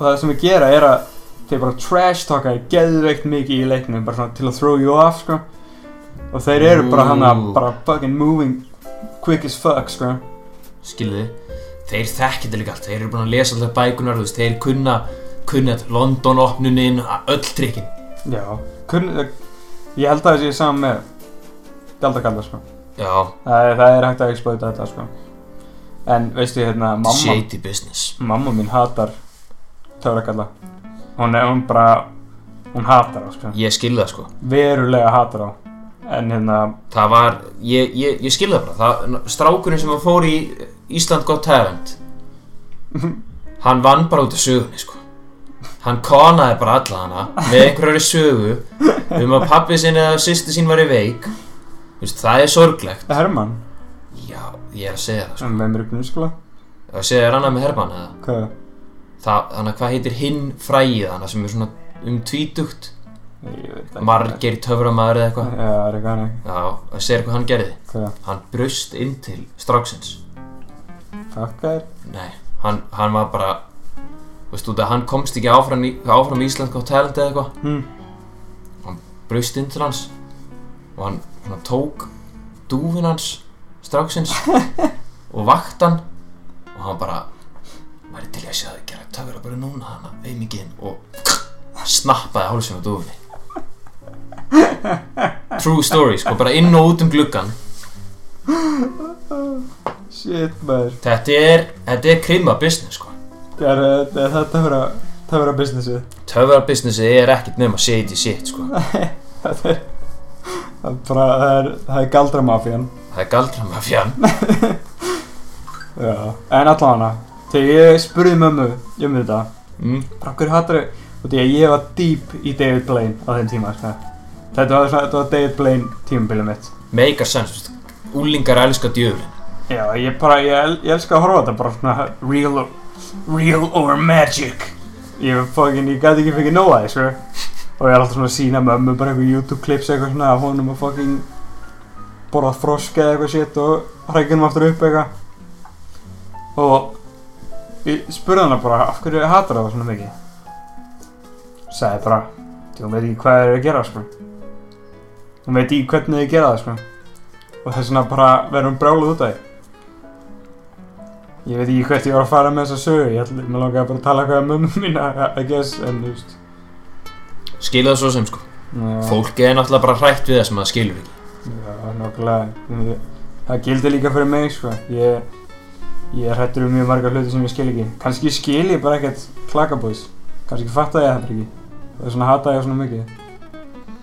Speaker 6: Og það sem ég gera er að þeir bara trash talka þér geðveikt mikið í leiknum, bara svona til að throw you off, sko. Og þeir eru bara hann að,
Speaker 5: Ooh.
Speaker 6: bara fucking moving quick as fuck, sko.
Speaker 5: skilðu þeir þekkja þetta líka allt, þeir eru búin að lesa alltaf bækunar, þú veist, þeir kunna kunna London opnunin, öll trikkin
Speaker 6: Já, kunn, ég held að það sé saman með Gjaldakallar sko
Speaker 5: já,
Speaker 6: það er, það er hægt að exploita þetta sko En veistu hérna, mamma,
Speaker 5: shady business
Speaker 6: mamma mín hatar Töfrakalla Hún er, hún bara, hún hatar á sko
Speaker 5: ég skilði það sko
Speaker 6: Verulega hatar á En hérna,
Speaker 5: það var, ég, ég, ég skilði það bara það, strákurinn sem fór í Ísland Got
Speaker 6: [laughs]
Speaker 5: Talent hann vann bara út af sögunni sko hann konaði bara alla hana með einhverjari sögu um að pappi sinni eða sýsti sín var í veik Þú veist, það er sorglegt
Speaker 6: Hermann,
Speaker 5: já, ég er að segja það sko
Speaker 6: sem með mér upp nuskula
Speaker 5: ég er að segja þér annað með herban eða
Speaker 6: Hvað,
Speaker 5: það, þannig að hvað heitir hinn fræið hana sem er svona um tvítugt
Speaker 6: ég veit ekki
Speaker 5: margir töframæður
Speaker 6: Já,
Speaker 5: eða eitthvað
Speaker 6: það er eitthvað hann
Speaker 5: já, að segja þér hvað hann gerði
Speaker 6: Hvað,
Speaker 5: hann braust inn til stráksins
Speaker 6: takka þér
Speaker 5: Nei, hann, hann var bara veist þú það, hann komst ekki áfram, í- áfram í Ísland á talent eða eitthvað
Speaker 6: Hmm.
Speaker 5: hann braust inn til hans og hann, hann tók dúfin hans stráksins og vakt hann og hann bara væri til í að sjá þig gera töfra bara núna hana, auðmikinn og snappaði hálsum á dúfinni True story, sko, bara inn og út um gluggan
Speaker 6: Shit maður,
Speaker 5: Þetta er, þetta er krimma business, sko
Speaker 6: það er, það er það töfra, töfra businessið
Speaker 5: Töfrarbusinessi er ekkert nema shady shit sko
Speaker 6: Það er, það er bara, það er, það er galdramafían.
Speaker 5: Það er galdramafjan
Speaker 6: Já. En allavega, þegar ég spurði mömmu um þetta,
Speaker 5: mm.
Speaker 6: bara hverju hattur þau, og því að ég var dýp í David Blaine á þeim tíma, sko. Þetta var, svona- þetta var David Blaine tímabilið mitt.
Speaker 5: Make a sense veist. Úlingar elska djöflin
Speaker 6: Já, ég bara, ég, el, ég elska að horfa á þetta, bara svona real or, real or magic. Ég var fokkin, ég gæti ekki fengið nóa því, sko. Og ég er alltaf svona að sína mömmu bara eitthvað YouTube-klips eitthvað svona af honum að fokkin borða froska eða eitthvað shit og hrækjum aftur upp eitthvað. Og ég spurði hana bara, af hverju hatar það svona mikið? Sæði bara, því hún veit ekki hvað það er að gera, sko. Hún veit ekki hvernig þið gera það, sko. Og þess vegna bara verður hún brjáluð út af því. Ég veit ekki hvert ég var að fara með þessa sögu, ég ætla, mér langaði bara að tala eitthvað um mömmu mína, I guess, en þú veist.
Speaker 5: Skilja það svo sem sko
Speaker 6: Já,
Speaker 5: Fólk er náttúrulega bara hrætt við það sem það skilur ekki
Speaker 6: Já, nokkulega. Það gildi líka fyrir mig, sko. Ég, ég er hættur um mjög marga hluti sem ég skil ekki. Kanski skil ég bara ekkert klakabóis. Kanski fatta ég það bara ekki. Það er svona hata ég á svona mikið.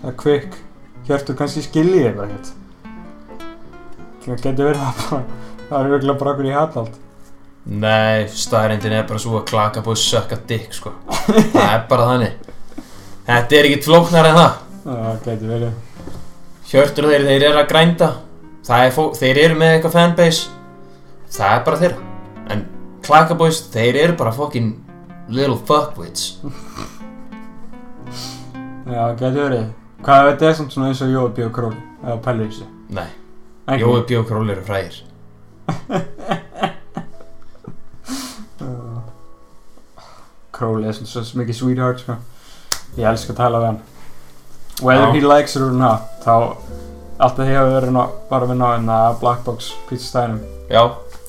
Speaker 6: Það er kvikk. Hjörtur, kannski skil ég það bara ekkert. Það getur verið það bara. [laughs] Það er auðvitað bara okkur ég hata allt.
Speaker 5: Nei, staðrindin er bara svo að klaka búið sökka dick sko Það er bara þannig Þetta er ekki flóknar en það
Speaker 6: Það getur verið.
Speaker 5: Hjörtur þeir, þeir eru að grænda Það er fólk, þeir eru með eitthvað fanbase Það er bara þeirra En klakaboys, þeir eru bara fokkin Little fuckwits
Speaker 6: Já, það getur verið. Hvað þetta er samt svona eins og Jói Bíó Król eða Pelle Ísi.
Speaker 5: Nei, Jói Bjó Król eru frægir
Speaker 6: Crowley er svona svo mikið sweetheart sko. ég elska að tala við hann whether he likes it or not þá alltaf þegar við verðum að bara vinna á hérna Black Box pizzastæðinum
Speaker 5: Já,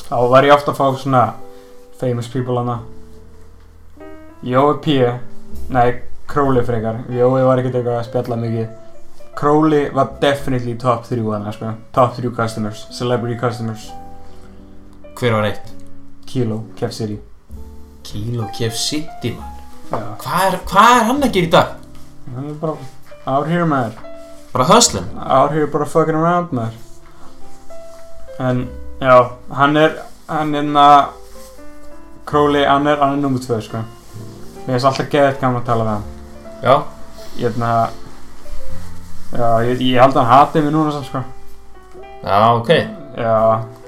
Speaker 6: þá var ég ofta að fá svona famous people hana Jói P nei Crowley frekar Jói var ekkert eitthvað að spjalla mikið Crowley var definitely top 3 hana sko. top 3 customers celebrity customers
Speaker 5: hver var eitt?
Speaker 6: Kilo Kev City
Speaker 5: Kilo Kef City man
Speaker 6: já
Speaker 5: Hvað er, hvað er hann að gera í dag?
Speaker 6: hann er bara out here maður
Speaker 5: Bara höslinn?
Speaker 6: out here bara fucking around maður en já hann er hann er na Crowley hann er hann er nummer 2 sko ég veist alltaf geðið gaman að tala við hann
Speaker 5: Já,
Speaker 6: ég hefna já ég, ég held að hann hati mig núna samt sko
Speaker 5: já, ok
Speaker 6: já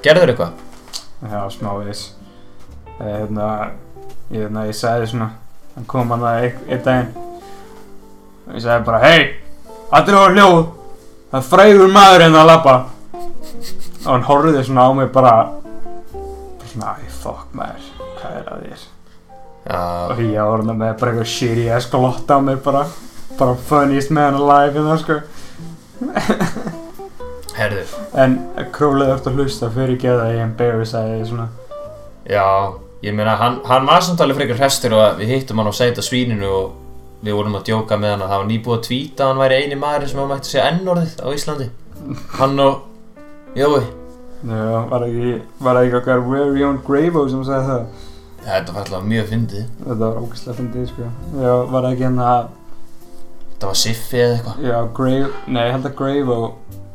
Speaker 5: Gerður eitthvað?
Speaker 6: já smávegis ég hefna hérna, ég hefna ég sagði svona hann kom hann að einn einn daginn og ég sagði bara hei allir voru hljóð það er frægur maður hérna að labba og hann horfði svona á mig bara bara svona æ fuck maður hvað er að þér
Speaker 5: Já,
Speaker 6: og ég var hann með bara eitthvað shitty ass glotta á mig bara bara funniest man alive hérna sko
Speaker 5: herðu
Speaker 6: en królið eftir að hlusta fyrir geða ég embarrass að ég svona
Speaker 5: Já, ég meina, hann, hann var samtalið frekar hrestur og við hittum hann á sæta svíninu og við vorum að djóka með hann að það var nýbúið að tvíta að hann væri eini maðurinn sem hann mætti segja N-orðið á Íslandi. Hann og Jói.
Speaker 6: Já, var ekki, var ekki okkar very own Gravo sem sagði það
Speaker 5: Þetta var alltaf mjög fyndið.
Speaker 6: Þetta var ógæslega fyndið, sko Já, var ekki hérna,
Speaker 5: Þetta var Siffi eða eitthvað.
Speaker 6: já, Gravo Nei, ég held að Gravo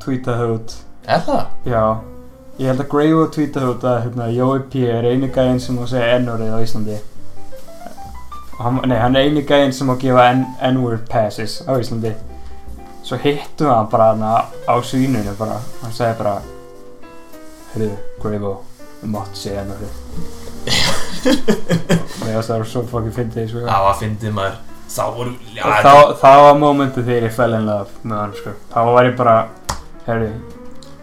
Speaker 6: tweetaði það út
Speaker 5: Er það?
Speaker 6: Já, ég held að Gravo tweetaði út að hérna, Jói P er eini gæinn sem má segja N-orðið á Íslandi Og hann, Nei, hann er eini gæinn sem má gefa N- N-word passes á Íslandi Svo hittum við hann bara hana á svínunni bara Hann sagði bara Heyrðu, Gravo, þú mátt segja N-orðið Nei, það var svo fucking fyndið, sko.
Speaker 5: Það var fyndið maður. Þá voru... Já,
Speaker 6: Og Þá, þá var mómentið þegar ég fell in love með hann, sko. Þá var ég bara, herri,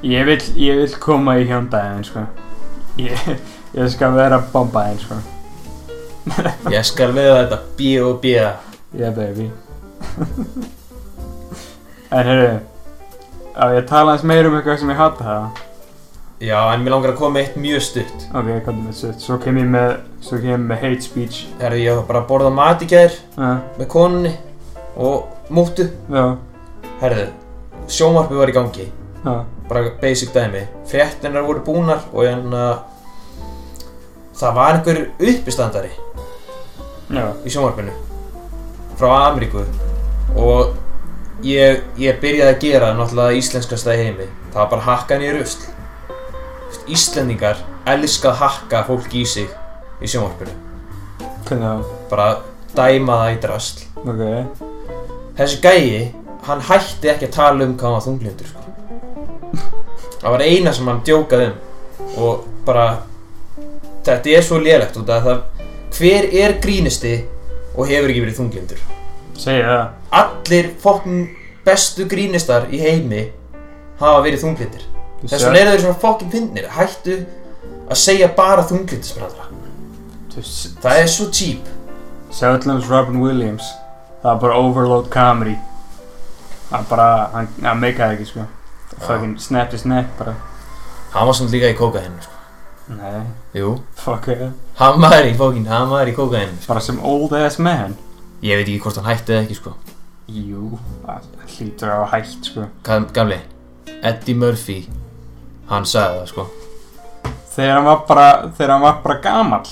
Speaker 6: ég vill, ég vill koma í hjóndæðin, sko. Ég, ég skal vera bombaðin, sko.
Speaker 5: Ég skal veða þetta B.O.B.
Speaker 6: Yeah, baby. [laughs] en, herri, á ég að tala eins meir um eitthvað sem ég hata það.
Speaker 5: Já, en mér langar að koma með eitt mjög stutt.
Speaker 6: Ok, ég kom með sutt. Svo kem ég með, svo kem ég með hate speech.
Speaker 5: Herðu, ég var bara að borða mat í gær
Speaker 6: Uh,
Speaker 5: með konunni og múttu.
Speaker 6: já,
Speaker 5: Herðu, sjómarpið var í gangi.
Speaker 6: já,
Speaker 5: bara basic dæmi fréttinar voru búnar og hérna það var einhver uppistandari
Speaker 6: já,
Speaker 5: í sjónvarpinu frá Ameríku og ég, ég byrjaði að gera náttúrulega íslenskasta í heimi það var bara hakkan í rusl Íslendingar elska að hakka fólki í sig í sjónvarpinu
Speaker 6: hvernig það,
Speaker 5: bara dæma það í drasl
Speaker 6: ok,
Speaker 5: þessi gæi, hann hætti ekki að tala um hvað hann var þunglindur sko. það var eina sem hann djókaði um og bara þetta er svo lélegt út af það hver er grínisti og hefur ekki verið þunglindur
Speaker 6: segja það.
Speaker 5: allir fokkin bestu grínistar í heimi hafa verið þunglindir þess vegna eru þeir svona fokkin pinnir hættu að segja bara þunglindismræðra
Speaker 6: Þess,
Speaker 5: það er svo cheap
Speaker 6: Sjöldlands Robin Williams það var bara overload comedy hann bara, hann, hann meikaði ekki sko fucking snapped his neck bara
Speaker 5: hann var svona líka í kóka hennu sko.
Speaker 6: Nei,
Speaker 5: Jú
Speaker 6: fuck it.
Speaker 5: Hann var í fókin, hann var í kókain
Speaker 6: Bara sem old ass man.
Speaker 5: Ég veit ekki hvort hann hætti eða ekki sko
Speaker 6: Jú, það hlýtur á hægt, sko.
Speaker 5: Gam- Gamli, Eddie Murphy Hann sagði það sko
Speaker 6: Þegar hann var bara, þegar hann var bara gamall.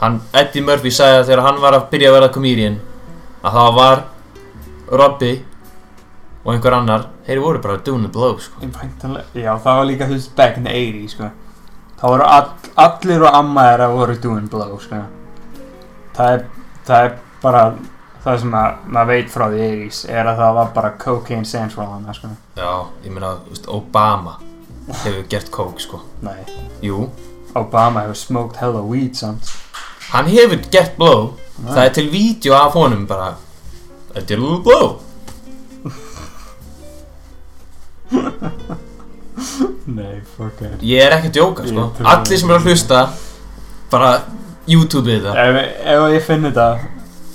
Speaker 5: hann, Eddie Murphy sagði að þegar hann var að byrja að vera komedian að það var Robby og einhver annar þeir voru bara doing the blow sko.
Speaker 6: Væntanlega, já, það var líka, þú veist, back in the 80s, sko. Það voru all, allir og amma þeirra voru doing blow, sko. Það er, það er bara, það sem að, maður veit frá því 80s er að það var bara cocaine central hann, sko.
Speaker 5: já, ég meina, þú veist, Obama hefur gert kók sko.
Speaker 6: Nei,
Speaker 5: jú,
Speaker 6: Obama hefur smoked hella weed samt.
Speaker 5: hann hefur gert blow það er til vídeo af honum bara I did a little blow
Speaker 6: Nei, fuck it.
Speaker 5: ég er ekki að djóka sko.
Speaker 6: Ég trúi
Speaker 5: allir sem eru að hlusta bara YouTube við það
Speaker 6: Ef, ef ég finn þetta,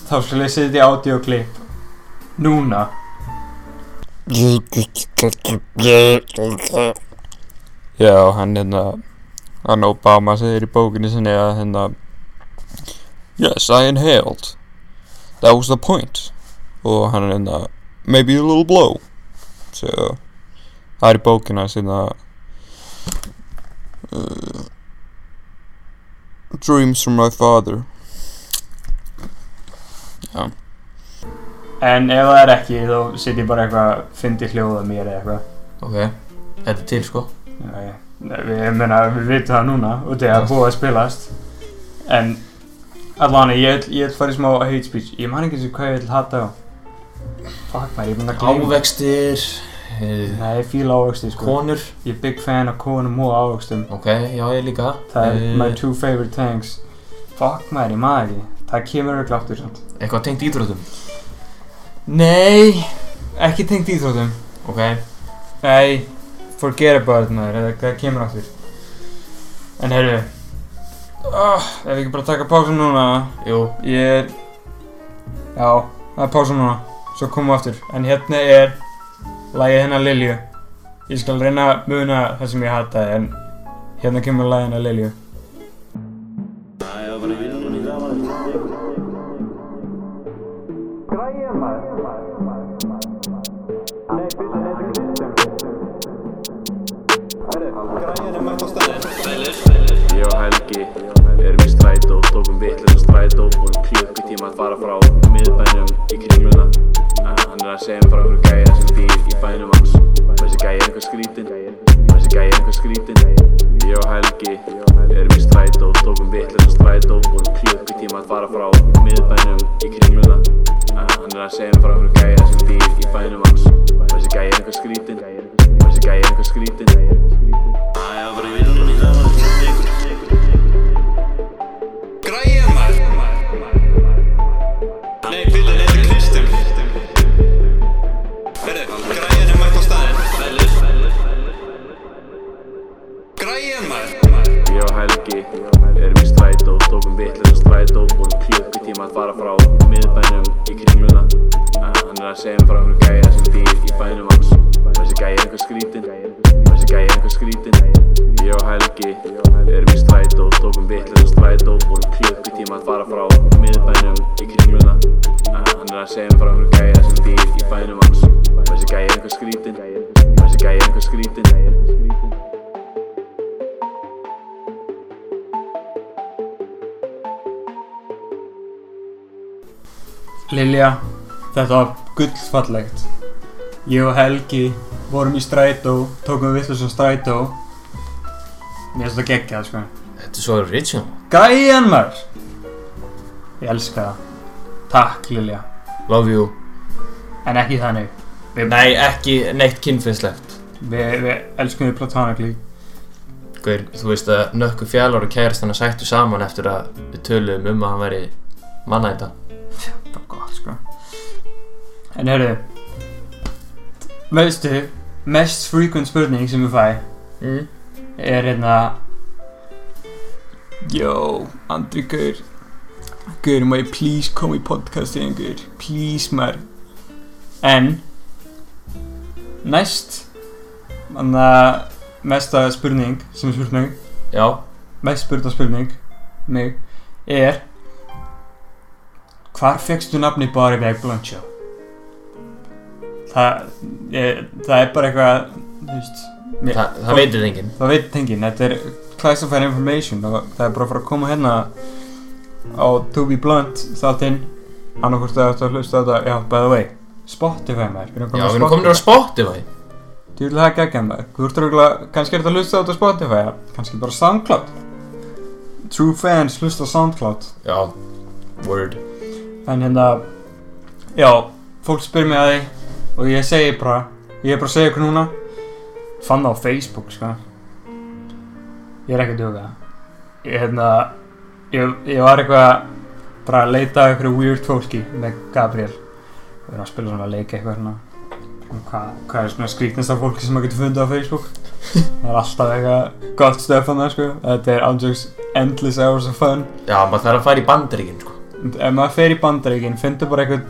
Speaker 6: þá skulle ég setja í audioklipp. Núna.
Speaker 3: Já, hann hérna hann Obama segir í bókinni sinni að hérna Yes, I inhaled That was the point og hann hérna Maybe a little blow so, það er í bókinni hans hérna uh, Dreams from my father
Speaker 6: En ef það er ekki, þá setjum ég bara eitthvað, fyndi hljóða mér eða eitthvað.
Speaker 5: ok, þetta er til sko
Speaker 6: Nei, nei, við, meina, við vitum það núna, út í að búið að spilast. En allan, ég ætl- ég ætl fara í smá hate speech. Ég man ekki eins og hvað ég ætl hata á. Fuck maður, ég er búinn að gleyma.
Speaker 5: ávextir eh,
Speaker 6: Nei, ég fíla ávöxti, sko.
Speaker 5: konur
Speaker 6: Ég er big fan af konum og ávöxtum.
Speaker 5: ok, já ég líka
Speaker 6: Það er
Speaker 5: Eh,
Speaker 6: my two favorite things. Fuck maður, ég man ekki. Það kemur örugglega aftur samt.
Speaker 5: Eitthvað tengt íþrótum? Nei
Speaker 6: Ekki tengt íþrótum.
Speaker 5: Ok,
Speaker 6: Nei, forget about it maður, það, það kemur aftur. En herru, oh, ef við ekki bara taka pása núna,
Speaker 5: jú,
Speaker 6: ég er, já, það er pása núna, svo komum við aftur. En hérna er lagið hennar Lilju. Ég skal reyna að muna það sem ég hata, en hérna kemur lagið hennar Lilju.
Speaker 7: Ég og Helgi erum í strætó, tókum vitlega strætó, búin klukkutíma að fara frá miðbænum í kringluna. En Hann er að segja mér frá einhverju gæja sem býr í bænum hans. Þessi gæja er eitthvað skrítinn, þessi gæja er eitthvað skrítinn. Ég og Helgi erum í strætó, tókum vitlega strætó, búin klukkutíma að fara frá miðbænum í kringluna. En Hann er að segja mér frá einhverju gæja sem býr í bænum hans. Þessi gæja er eitthvað skrítinn, þessi gæja er eitthvað skrítinn. Ég og Helgi erum í strætó, tókum vitlega strætó, búin klukkutíma að fara frá miðbænum í kringluna. En Hann er að segja mér frá einhverju gæja sem býr í bænum hans. Þessi gæja er eitthvað skrítinn, þessi gæja er eitthvað skrítinn. Ég og Helgi erum í strætó, tókum vitlega strætó, búin klukkutíma að fara frá miðbænum í kringluna. En Hann er að segja mér frá einhverju gæja sem býr í bænum hans. Þessi gæja er eitthvað skrítinn, þessi gæja er eitthvað skrítinn.
Speaker 6: Lilja, þetta var gullfallegt. Ég og Helgi vorum í strætó, tókum við vittlust strætó. Mér finnst það geggjað, sko.
Speaker 5: þetta er svo original
Speaker 6: Gæjan maður! Ég elska það. Takk, Lilja.
Speaker 5: Love you
Speaker 6: En ekki þannig. Við,
Speaker 5: Nei, ekki neitt kynfinnslegt
Speaker 6: við, við elskum við platonically.
Speaker 5: Hver, þú veist að nökku fjálvar og kærast hann að sættu saman eftir að við töluðum um að hann væri mannæta
Speaker 6: Það var gott, sko. En herru, veistu, mest frequent spurning sem ég fæ
Speaker 5: mm.
Speaker 6: er hérna...
Speaker 3: Yo, Andri Gaur Gaur, má ég please koma í podcastið Gaur, please maður
Speaker 6: En næst Þannig að mesta spurning sem er spurning
Speaker 5: Já,
Speaker 6: mest spurða spurning mig er hvar fegstu nafni Barry Bag Blunt Show? Það, ég, það er bara eitthvað, þú veist, mér,
Speaker 5: Þa, það veitir enginn
Speaker 6: það veit tengin, þetta er classified information og það er bara að fara að koma hérna á To Be Blunt þáttinn annarkvort að þetta hlusta á þetta, já, by the way Spotify maður, við erum komin
Speaker 5: Já,
Speaker 6: á
Speaker 5: við erum komin á Spotify
Speaker 6: Þú vil það geggjað maður, þú ert röglega, kannski er þetta að hlusta á þetta á Spotify, ja, kannski bara SoundCloud True fans hlusta á SoundCloud
Speaker 5: Já, word
Speaker 6: En hérna, já, fólk spyr mig að því og ég segi bara, ég er bara að segja ykkur núna Fann það á Facebook, sko Ég er ekki að duga Ég, hérna, ég, ég var eitthvað bara að leita að ykkur weird fólki með Gabriel Við erum að spila svona leik eitthvað hérna um hvað, hvað er svona skrítnasta fólki sem maður getur fundið á Facebook Það er alltaf eitthvað gott stöf hann sko Þetta er ándjöks endless hours of fun
Speaker 5: Já, maður þarf að fara í bandaríkinn, sko
Speaker 6: ef maður fer í bandaríkin, finnstu bara eitthvað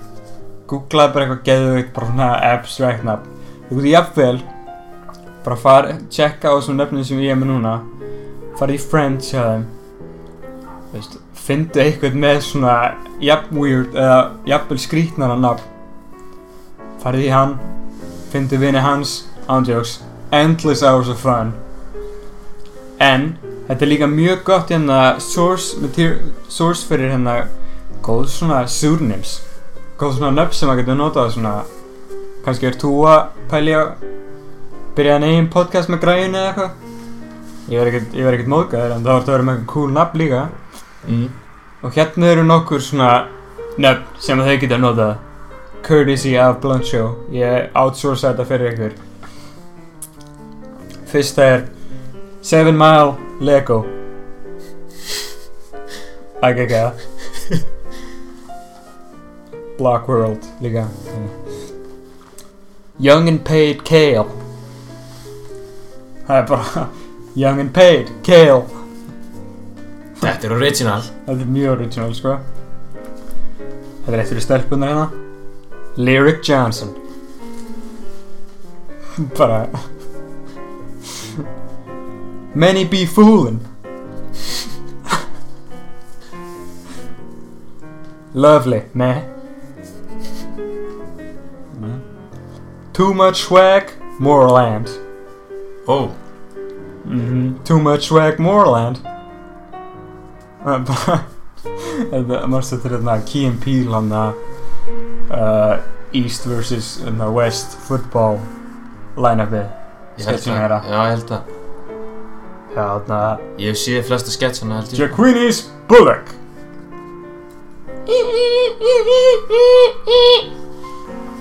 Speaker 6: googlaði bara eitthvað geðveikt bara svona abstract nafn þú getur jafnvel bara far, checka á þessum nöfnum sem ég er með núna farið í friends hjá þeim Þú veist, finnstu eitthvað með svona jafn weird eða jafnvel skrítnara nafn farið í hann finnstu vini hans ándjóks endless hours of fun en þetta er líka mjög gott hérna source, material, source fyrir hérna góð svona surnims góð svona nöfn sem maður getur notað svona kannski er þú að pæli að byrja að negin podcast með græjun eða eitthvað ég verð ekkert, ég verð ekkert móðgæður en það vart að vera með eitthvað cool nafn líka
Speaker 5: mm.
Speaker 6: og hérna eru nokkur svona nöfn sem þau geta notað courtesy af Blunt Show ég outsourca þetta fyrir ykkur fyrsta er Seven Mile Lego Það gekk eða Block World líka Young and Paid Kale Það er bara [laughs] Young and Paid Kale
Speaker 5: Þetta er original
Speaker 6: Þetta er mjög original sko Þetta er eitt fyrir stelpunar hérna Lyric Johnson Bara Many be foolin Lovely, meh Too much swag, Moreland
Speaker 5: Ó,
Speaker 6: Too much swag Moreland Það er [laughs] bara Þetta er margst þetta er hérna Key and Peele hann uh, East vs. hérna, West football eh? line-upið
Speaker 5: ég held
Speaker 6: Sketching
Speaker 5: að
Speaker 6: meira.
Speaker 5: Já, ég held að
Speaker 6: Já, þarna
Speaker 5: Ég hef séð flesta sketsana, held ég
Speaker 6: Jaquinis Bullock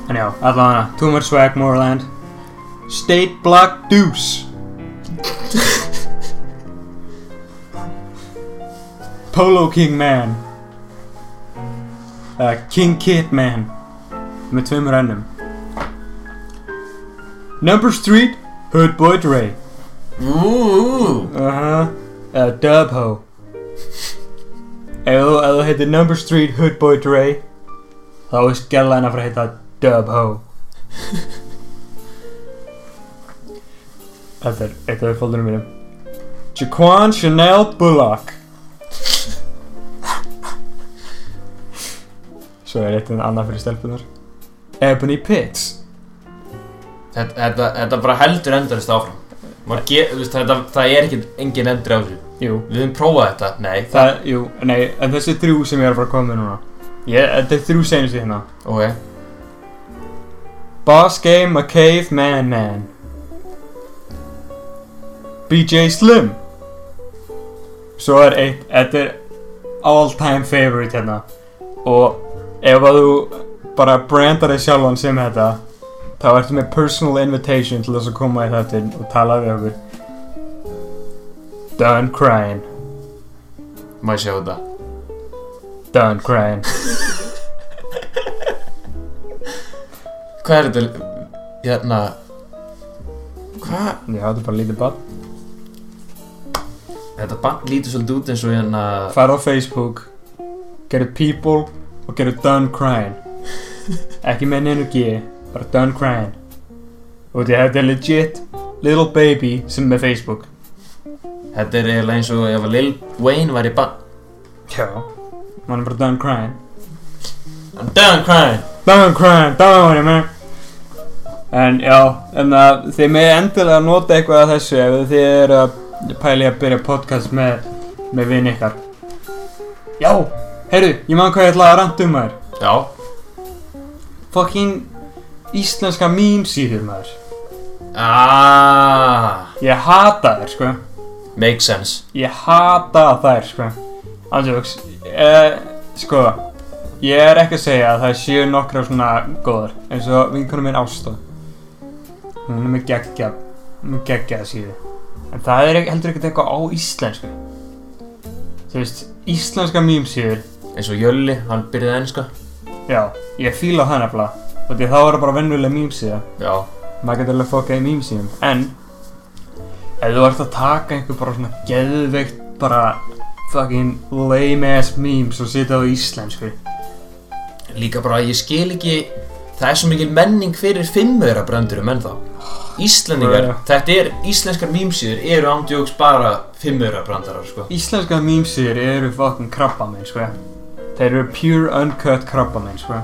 Speaker 6: En já, allavega Too much swag Moreland State Block [laughs] Deuce Polo King Man uh, King Kid Man með tveimur ennum Number Street Hood Boy Dre
Speaker 5: Ú,
Speaker 6: Uh-huh. Uh, Dub Ho. ef þú ef þú heitir Number Street Hood Boy Dre, þá er skellan að fara að heita Dub Ho. [laughs] Þetta er eitt af fólkinu mínum. Jaquan Chanel Bullock. [laughs] Svo er eitt en annað fyrir stelpunar. Ebony Pitts.
Speaker 5: þetta, þetta, þetta bara heldur endurist áfram Maður ge, þú veist, þetta, Það er ekki engin endur á þessu
Speaker 6: Jú,
Speaker 5: Við höfum prófað þetta, nei það,
Speaker 6: það, jú, nei, en þessi þrjú sem ég er að fara að koma með núna. Ég, þetta er þrjú senustu hérna.
Speaker 5: Ok,
Speaker 6: Boss Game, a Cave, Man Man. BJ Slim. Svo er eitt, þetta er all time favorite hérna. Og ef að þú bara brandar þig sjálfan sem þetta, þá ertu með personal invitation til þess að koma í þáttinn og tala við okkur. Done crying,
Speaker 5: má ég sjá þetta
Speaker 6: done crying.
Speaker 5: Hvað er þetta? Hérna Hvað?
Speaker 6: Já, þetta er bara lítið bann.
Speaker 5: Þetta band lítur svolítið út eins og hérna
Speaker 6: Farð á Facebook Gerðu people Og gerðu done crying Ekki með neinu G Bara done crying Og því þetta er legit Little baby sem er með Facebook
Speaker 5: Þetta er eiginlega eins og ef að Lil Wayne væri bann
Speaker 6: Já Man er bara done crying
Speaker 5: I'm done crying
Speaker 6: Done crying, done crying man En já, en að þið með endilega nota eitthvað af þessu ef þið eru að pæli að byrja podcast með, með vinn ykkar Já, heyrðu, ég man hvað ég ætlaði að ranta um maður
Speaker 5: Já,
Speaker 6: Fucking íslenska mýmsýður maður
Speaker 5: Ah,
Speaker 6: Ég hata þær sko
Speaker 5: makes sense
Speaker 6: Ég hata þær sko Andjóks, eh, sko Ég er ekki að segja að það séu nokkra svona góðar eins og vinkunum minn Ásta Hún er með geggja með geggjaða síðu en það er ekki- heldur ekkert eitthvað á íslensku Þú veist, íslenska mýmsýður
Speaker 5: eins og Jölli, hann byrjaði enska
Speaker 6: Já, ég fíla það nefnilega og því þá er það bara vennulega mýmsýða
Speaker 5: Já,
Speaker 6: maður getur alveg fokkað í mýmsýðum en ef þú ert að taka einhver bara svona geðveikt bara fucking lame ass memes og setja það á íslensku
Speaker 5: líka bara ég skil ekki það er svo mikil menning fyrir fimmöra brandurum ennþá Íslendingar,
Speaker 6: Bruh.
Speaker 5: þetta er, íslenskar mýmsýður eru ándjóks bara fimmöra brandarar sko
Speaker 6: íslenska mýmsýður eru fucking krabba minn sko þeir eru pure uncut krabba minn sko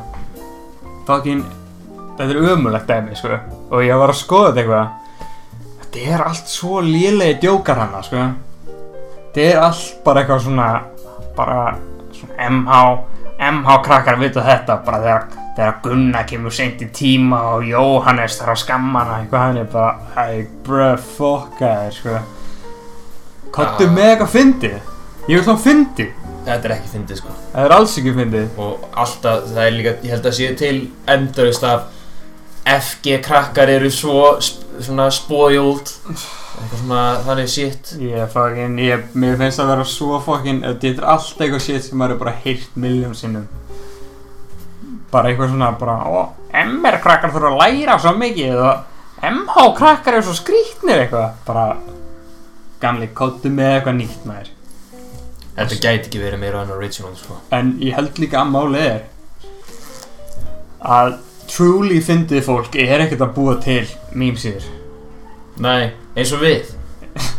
Speaker 6: fucking þetta er ömulegt dæmi sko og ég var að skoða þetta eitthvað þetta er allt svo lélegi djókar hana sko þetta er allt bara eitthvað svona bara svona MH MH krakkar vita þetta bara þegar, þegar Gunna kemur seint í tíma og Jóhannes þarf að skamma hana eitthvað hann er bara hey bruh fokka þér sko Kottu
Speaker 5: Ah.
Speaker 6: með eitthvað fyndið Ég vil þá fyndið
Speaker 5: Þetta er ekki fyndið sko
Speaker 6: Það er alls ekki fyndið
Speaker 5: og alltaf, það er líka, ég held að sé til endurist af FG krakkar eru svo sp- svona spoiled eitthvað svona þannig shit
Speaker 6: Ég fucking, ég, mér finnst það að vera svo fucking Þetta er allt eitthvað shit sem maður er bara heyrt miljón sinnum Bara eitthvað svona bara Ó, MR krakkar þurfa að læra svo mikið Og MH krakkar eru svo skrýtnir eitthvað Bara Gamli, kottu með eitthvað nýtt maður
Speaker 5: Þetta gæti ekki verið meira en original sko
Speaker 6: En ég held líka að málið er Að truly fyndið fólk er ekkert að búa til mýmsýður
Speaker 5: Nei, eins og við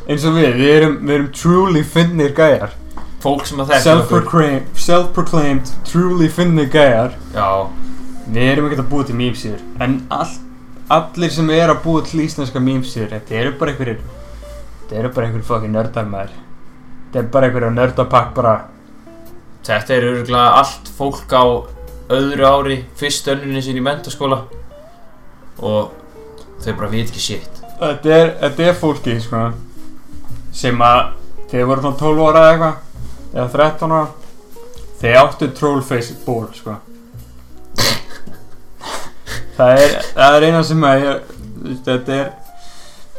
Speaker 6: eins og við, við erum, við erum truly finnir gæjar
Speaker 5: fólk sem að þekkja
Speaker 6: Self-proclaimed, self-proclaimed truly finnir gæjar
Speaker 5: Já,
Speaker 6: Við erum ekkert að búa til mýmsýður En all, allir sem er að búa til íslenska mýmsýður Þetta eru bara einhverjir Þetta eru bara einhverjir fucking nördar maður Þetta er bara einhverjir nördapakk bara
Speaker 5: þetta er örgulega allt fólk á öðru ári fyrst önninni sín í mentaskóla og þau bara veit ekki shit
Speaker 6: Þetta er, þetta er fólki sko Sem að Þeir voru svona 12 ára eða eitthvað Eða 13 ára Þeir áttu trollface ból [laughs] sko Það er, það er eina sem að ég, Þetta er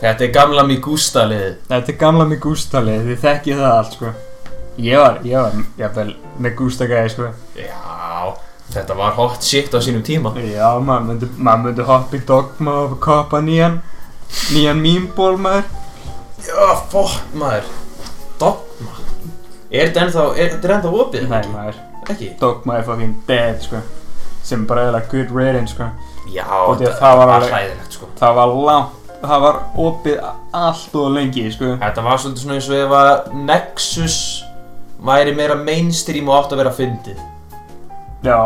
Speaker 5: Þetta er gamla Migusta liðið
Speaker 6: Þetta er gamla Megústa-lið, þið þekkið það allt sko Ég var, ég var, jafnvel, Megústa-gæði sko
Speaker 5: Já, þetta var hot shit á sínum tíma
Speaker 6: Já, maður myndi, maður myndi hoppa í dogma og koppa nýjan Nýjan mýmból maður
Speaker 5: Já, fokk maður Dogma Er þetta ennþá, er þetta er ennþá opið?
Speaker 6: Nei maður,
Speaker 5: Ekki?
Speaker 6: dogma er fucking dead sko Sem bara eða good riddance sko
Speaker 5: Já,
Speaker 6: Og því að
Speaker 5: þetta
Speaker 6: það var
Speaker 5: var
Speaker 6: alveg-
Speaker 5: hræðilegt sko
Speaker 6: Það var langt, það var opið allt og lengi sko
Speaker 5: Þetta var svolítið svona eins og ef að Nexus væri meira mainstream og átt að vera fyndið
Speaker 6: Já,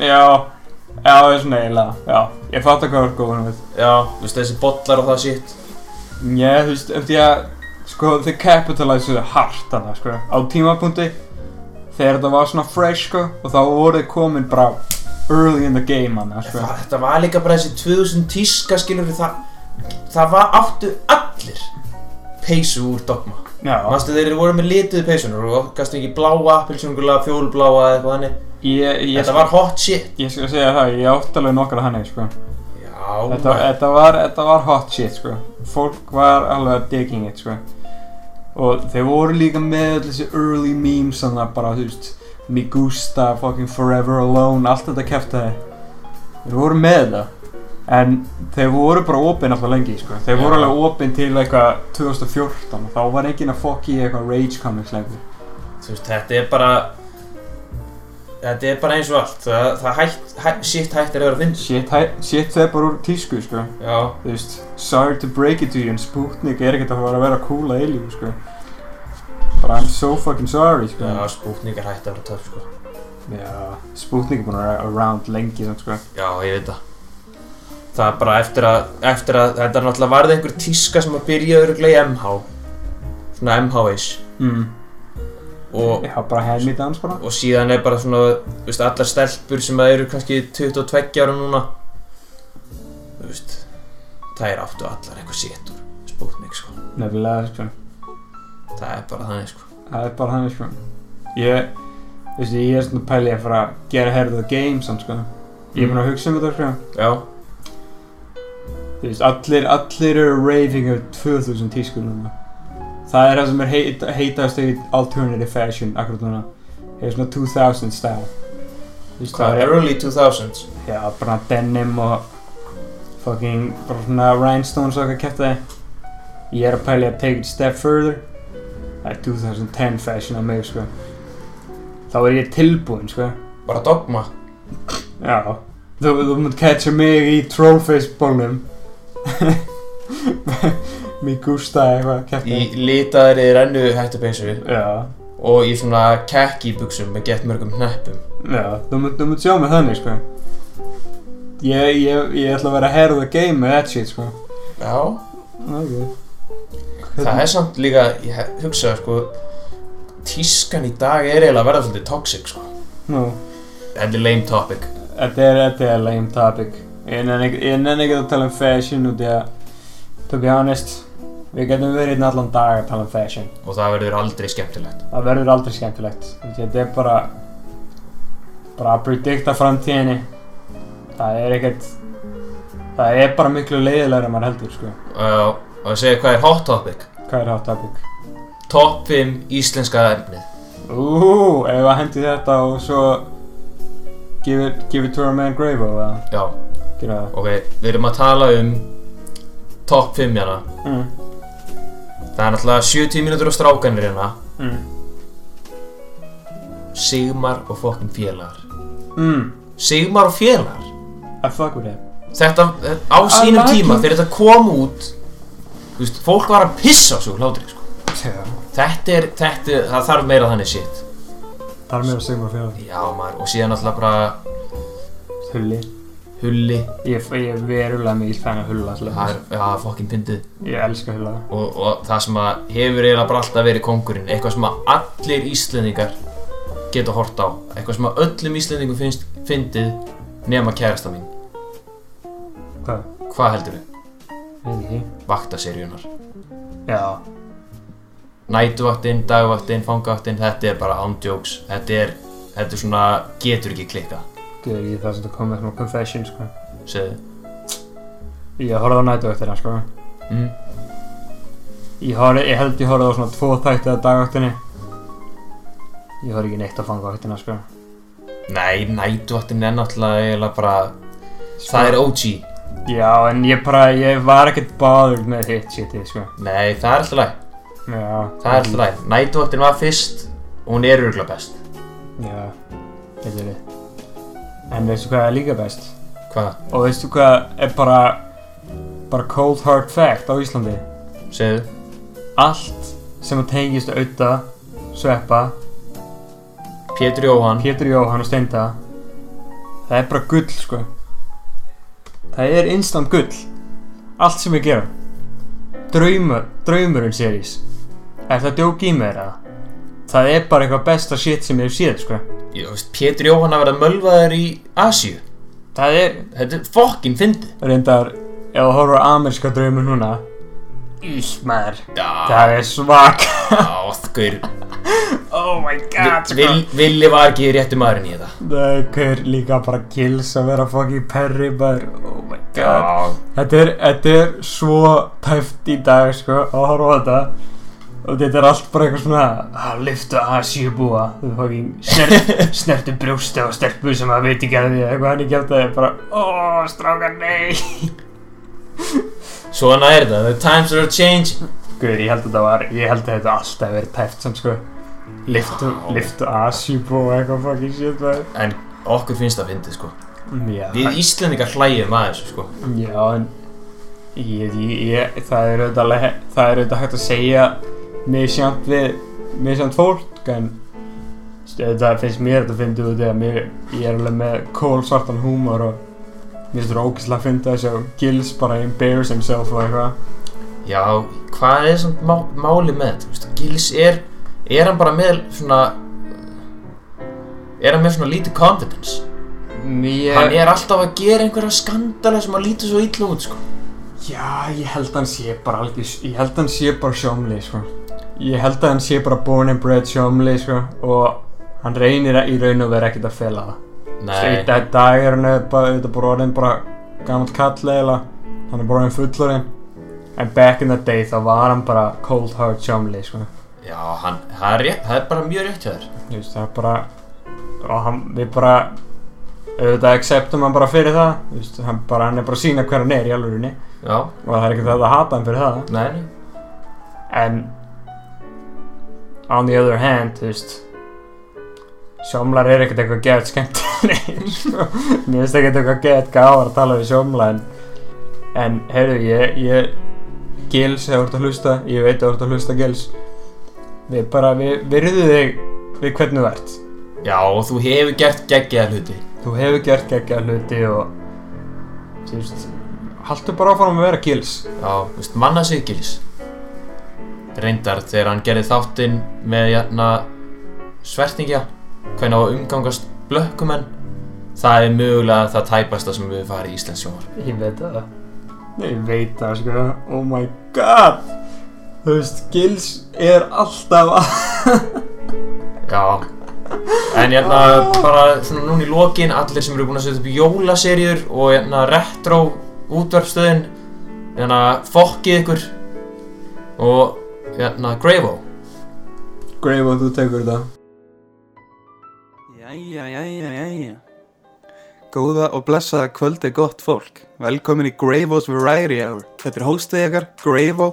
Speaker 6: já, já, það er svona eiginlega, já Ég fatt að hvað var góðan við
Speaker 5: Já, þú veist þessi bollar og það shit
Speaker 6: Já, þú veist, ef því að sko, þau capitalizuðu hart að það, sko, á tímapunkti þegar þetta var svona fresh, sko og þá voru þau komin bara early in the game, annað, sko
Speaker 5: Það, þetta var líka bara þessi 2000 tíska skilur við það Það var áttu allir peysu úr dogma
Speaker 6: Já,
Speaker 5: Manstu þeir voru með lituðu peysunar og gastu ekki bláa, pilsjóngulega, fjólbláa eða eitthvað þannig
Speaker 6: ég, sko- ég,
Speaker 5: Þetta var hot shit
Speaker 6: ég skal segja það, ég átti alveg nokkra hannig, sko
Speaker 5: Já,
Speaker 6: þetta,
Speaker 5: maður.
Speaker 6: þetta, var, þetta var hot shit, sko fólk var alveg digging it, sko og þeir voru líka með öll þessi early memes, annað, bara, þú veist Me Gusta, fucking Forever Alone, allt þetta kæftaði Þeir voru með það En þeir voru bara opinn alltaf lengi sko. Þeir voru
Speaker 5: Já.
Speaker 6: alveg opinn til eitthvað 2014 og Þá var enginn að fokki í eitthvað Rage Comics lengur
Speaker 5: þú veist, þetta er bara Þetta er bara eins og allt, það, það hætt, hæ, shit hættir að vera að finna
Speaker 6: Shit, hæ, shit það er bara úr tísku, sko
Speaker 5: Já,
Speaker 6: Þú veist, sorry to break it to you En Sputnik er ekkert að fara að vera cool að eilífu, sko Bara I'm so fucking sorry, sko
Speaker 5: já spútningar hætti að vera töf sko
Speaker 6: Já, Sputnik er búin að vera around lengi samt sko
Speaker 5: Já, ég veit það Það er bara eftir að, eftir að þetta náttúrulega varði einhver tíska sem að byrja öruglega í MH Svona MH-ish
Speaker 6: mm.
Speaker 5: og,
Speaker 6: Já, bara helmi dans bara
Speaker 5: og síðan er bara svona, þú veist, allar stelpur sem að eru kannski 22 ára núna Þú veist, það er áttu allar eitthvað sétt úr spútning sko
Speaker 6: Nefnilega sko,
Speaker 5: Það er bara þannig sko
Speaker 6: það er bara þannig sko Ég, þú veist, ég er svona pæli að fara að gera herðu það game samt sko Ég er búin að hugsa um þetta sko
Speaker 5: Já,
Speaker 6: Þú veist, allir, allir eru raving af 2000 tískur núna Það er það sem er heit, heitast í alternative fashion akkurat núna Hefur svona 2000 style Þú veist,
Speaker 5: hvað
Speaker 6: það
Speaker 5: er
Speaker 6: er,
Speaker 5: early 2000s?
Speaker 6: já, bara denim og fucking, bara svona rhinestones og eitthvað kæft það Ég er að pæli að take it a step further Það er 2010 fashion á mig, sko Þá er ég tilbúinn, sko
Speaker 5: Bara dogma
Speaker 6: Já, þú, þú munt catcha mig í trollface [laughs] bólnum Mér gústa eitthvað
Speaker 5: Í
Speaker 6: kæftin
Speaker 5: litaðri rennu hættupeysu
Speaker 6: Já,
Speaker 5: og í svona khaki buksum með gett mörgum hneppum.
Speaker 6: já, þú munt, þú munt sjá mig þannig sko Ég, ég, ég ætla að vera hair of the game með that shit sko
Speaker 5: Já,
Speaker 6: Ok
Speaker 5: það er samt líka, ég he- hugsa sko, tískan í dag er eiginlega að verða svolítið toxic sko.
Speaker 6: Nú,
Speaker 5: Þetta er lame topic.
Speaker 6: þetta er, þetta er lame topic Ég nenni ekki- ég nenni ekki að tala um fashion út í að To be honest, við getum verið hérna allan dag að tala um fashion
Speaker 5: Og það verður aldrei skemmtilegt.
Speaker 6: það verður aldrei skemmtilegt Þú veist, þetta er bara bara að predikta framtíðinni það er ekkert það er bara miklu leiðilegur en maður heldur sko.
Speaker 5: Uh, og ég segja hvað er hot topic?
Speaker 6: hvað er hot topic
Speaker 5: Top 5 íslenska efnið.
Speaker 6: úúú, ef að hendi þetta og svo give it, give it to our man Gravo eða
Speaker 5: Já,
Speaker 6: gera það
Speaker 5: ok, við erum að tala um top 5 hérna.
Speaker 6: mm.
Speaker 5: Það er náttúrulega 70 mínútur á strákanir hérna.
Speaker 6: Mm.
Speaker 5: Sigmar og fokkin félagar.
Speaker 6: Mm.
Speaker 5: Sigmar og félagar?
Speaker 6: I fuck with it
Speaker 5: þetta á sínum
Speaker 6: like
Speaker 5: tíma
Speaker 6: it.
Speaker 5: þegar þetta kom út þú veist, fólk var að pissa á svo hlátri sko.
Speaker 6: Já,
Speaker 5: þetta er, þetta er, það þarf meira þannig shit
Speaker 6: það er mér að segja maður fyrir
Speaker 5: já maður, og síðan alltaf bara
Speaker 6: Hulli
Speaker 5: hulli,
Speaker 6: Ég, ég er verulega mikið fæn að hulla alltaf
Speaker 5: það er, já, fokkin pyndið
Speaker 6: Ég elska hulla
Speaker 5: og, og það sem að hefur eiginlega bara alltaf verið kongurinn eitthvað sem að allir íslendingar geta hort á, eitthvað sem að öllum íslendingum finnst, fyndið nema kærasta mín,
Speaker 6: Hvað?
Speaker 5: hvað heldur við?
Speaker 6: Veit ekki
Speaker 5: Vaktaserjunar,
Speaker 6: Já,
Speaker 5: nætuvaktinn, dagvaktinn, fangavaktinn, þetta er bara ándjóks, þetta er, þetta er svona, getur ekki klikka,
Speaker 6: Gauður, ég þarf svolítið að koma með svona confession, sko.
Speaker 5: segðu.
Speaker 6: Ég horfði á nætuvaktina, sko.
Speaker 5: Mm.
Speaker 6: Ég, horfði, ég held ég horfði á svona tvo þætti að dagvaktinni. Ég horfði ekki neitt að fanga vaktina, sko.
Speaker 5: Nei, nætuvaktinn er náttúrulega eiginlega bara, það er OG,
Speaker 6: Sko, Já, en ég bara, ég var ekkert báður með hitt shitið, sko.
Speaker 5: nei, það er alltaf læg,
Speaker 6: Já.
Speaker 5: það er alltaf læg, nætuvaktinn var fyrst og hún er örgulega best.
Speaker 6: Já, þetta er þið. En veistu hvað er líka best?
Speaker 5: Hvað,
Speaker 6: Og veistu hvað er bara, bara cold hard fact á Íslandi?
Speaker 5: segðu?
Speaker 6: Allt sem að tengist auða, sveppa,
Speaker 5: Pétur Jóhann,
Speaker 6: Pétur Jóhann og Steinda Það er bara gull sko Það er instant gull Allt sem við gerum Draumur, draumurinn series Er það djók í mér eða? Það er bara eitthvað besta shit sem ég hef séð sko
Speaker 5: ég þú veist, Pétur Jóhann að verða mölvaðar í Asíu,
Speaker 6: Það er
Speaker 5: þetta er fokkin
Speaker 6: [laughs]
Speaker 5: fyndið.
Speaker 6: reyndar Ef þú horfur á amerska draumur núna Ís maður
Speaker 5: Já,
Speaker 6: Það er svak
Speaker 5: áþgur,
Speaker 6: Oh my god sko
Speaker 5: Vil, Villi var ekki réttu maðurinn í þetta.
Speaker 6: Það er hver líka bara kills að vera fucking perri maður Oh my god Þetta er, þetta er svo tæft í dag sko að horfa á þetta og þetta er allt bara eitthvað svona að lyfta að síbúa þú fucking snert, snertu brjósta og stelpu sem að veit ekki að því eða eitthvað hann ekki að það er bara ó strákar nei
Speaker 5: Svona er þetta, the times are changing.
Speaker 6: Guður ég held að þetta var ég held að þetta alltaf verið tæft sem sko Liftu, liftu Asibo og eitthvað fucking shit maður
Speaker 5: En okkur finnst það fyndið sko
Speaker 6: Mm, Já,
Speaker 5: Við Íslendingar hlægjum að þessu sko
Speaker 6: já en ég, ég, ég, það er auðvitað alveg hæ- það er auðvitað hægt að segja misjant við, misjant fólk en stu, auðvitað finnst mér þetta að fyndi út eða mér, ég er alveg með kól svartan húmor og mér finnst þetta ógislega að fyndi að sjá Gils bara embarrass himself og eitthvað
Speaker 5: Já, hvað er samt má, máli með þetta? Vistu, Gils er, er hann bara með svona Er hann með svona lítið confidence?
Speaker 6: Mér,
Speaker 5: Hann er alltaf að gera einhverja skandala sem að líti svo illa út sko
Speaker 6: Já, ég held að hann sé bara algjör, ég held að hann sé bara sjómli, sko. Ég held að hann sé bara born and bred sjómli, sko, og hann reynir að, í raun og vera ekkert að fela það. Þú
Speaker 5: Nei,
Speaker 6: veist, í dag er hann auðvitað auðvitað bara orðin bara gammalt kall eiginlega, hann er bara orðin fullorinn. En back in the day þá var hann bara cold hard sjómli, sko.
Speaker 5: já, hann, það er, rétt, það er bara mjög rétt hjá þér
Speaker 6: Þú veist, það er bara, og hann, við bara, auðvitað acceptum hann bara fyrir það, þú veist, hann bara, hann er bara að sína hver hann er í alvörunni
Speaker 5: Já,
Speaker 6: og það er ekkert hægt að hata hann fyrir það.
Speaker 5: nei, nei
Speaker 6: En on the other hand, þú veist sjómlar er ekkert eitthvað gett skemmtilegir [laughs] sko. mér finnst ekkert eitthvað gett gáðar að tala við sjómla en, en heyrðu, ég, ég Gils hefur orðið að hlusta ég veit að orðið að hlusta Gils við bara, við virðu þig við hvernig þú ert
Speaker 5: Já, og þú hefur gert geggjaða hluti
Speaker 6: þú hefur gert geggja hluti og þú veist haltu bara áfram að vera Gils
Speaker 5: Já, þú veist, manna sig Gils Reyndar þegar hann gerði þáttinn með jæna svertingja hvernig á að umgangast blökkumenn það er mögulega það tæpasta sem við farið í Íslands sjónvarp
Speaker 6: Ég veit það. Ég veit það, sko. Oh my god. Þú veist, Gils er alltaf að...
Speaker 5: Já En hérna bara svona núna í lokin allir sem eru búin að setja upp jólaserjur og hérna retro útvarpstöðin hérna fokkið ykkur og hérna Grevo
Speaker 6: Greif og þú tekur þetta.
Speaker 8: Jæja, jæja, jæja. Góða og blessaða kvöldi gott fólk. Velkomin í Greivos Variety Hour. Þetta er hóstið ykkar, Greivo.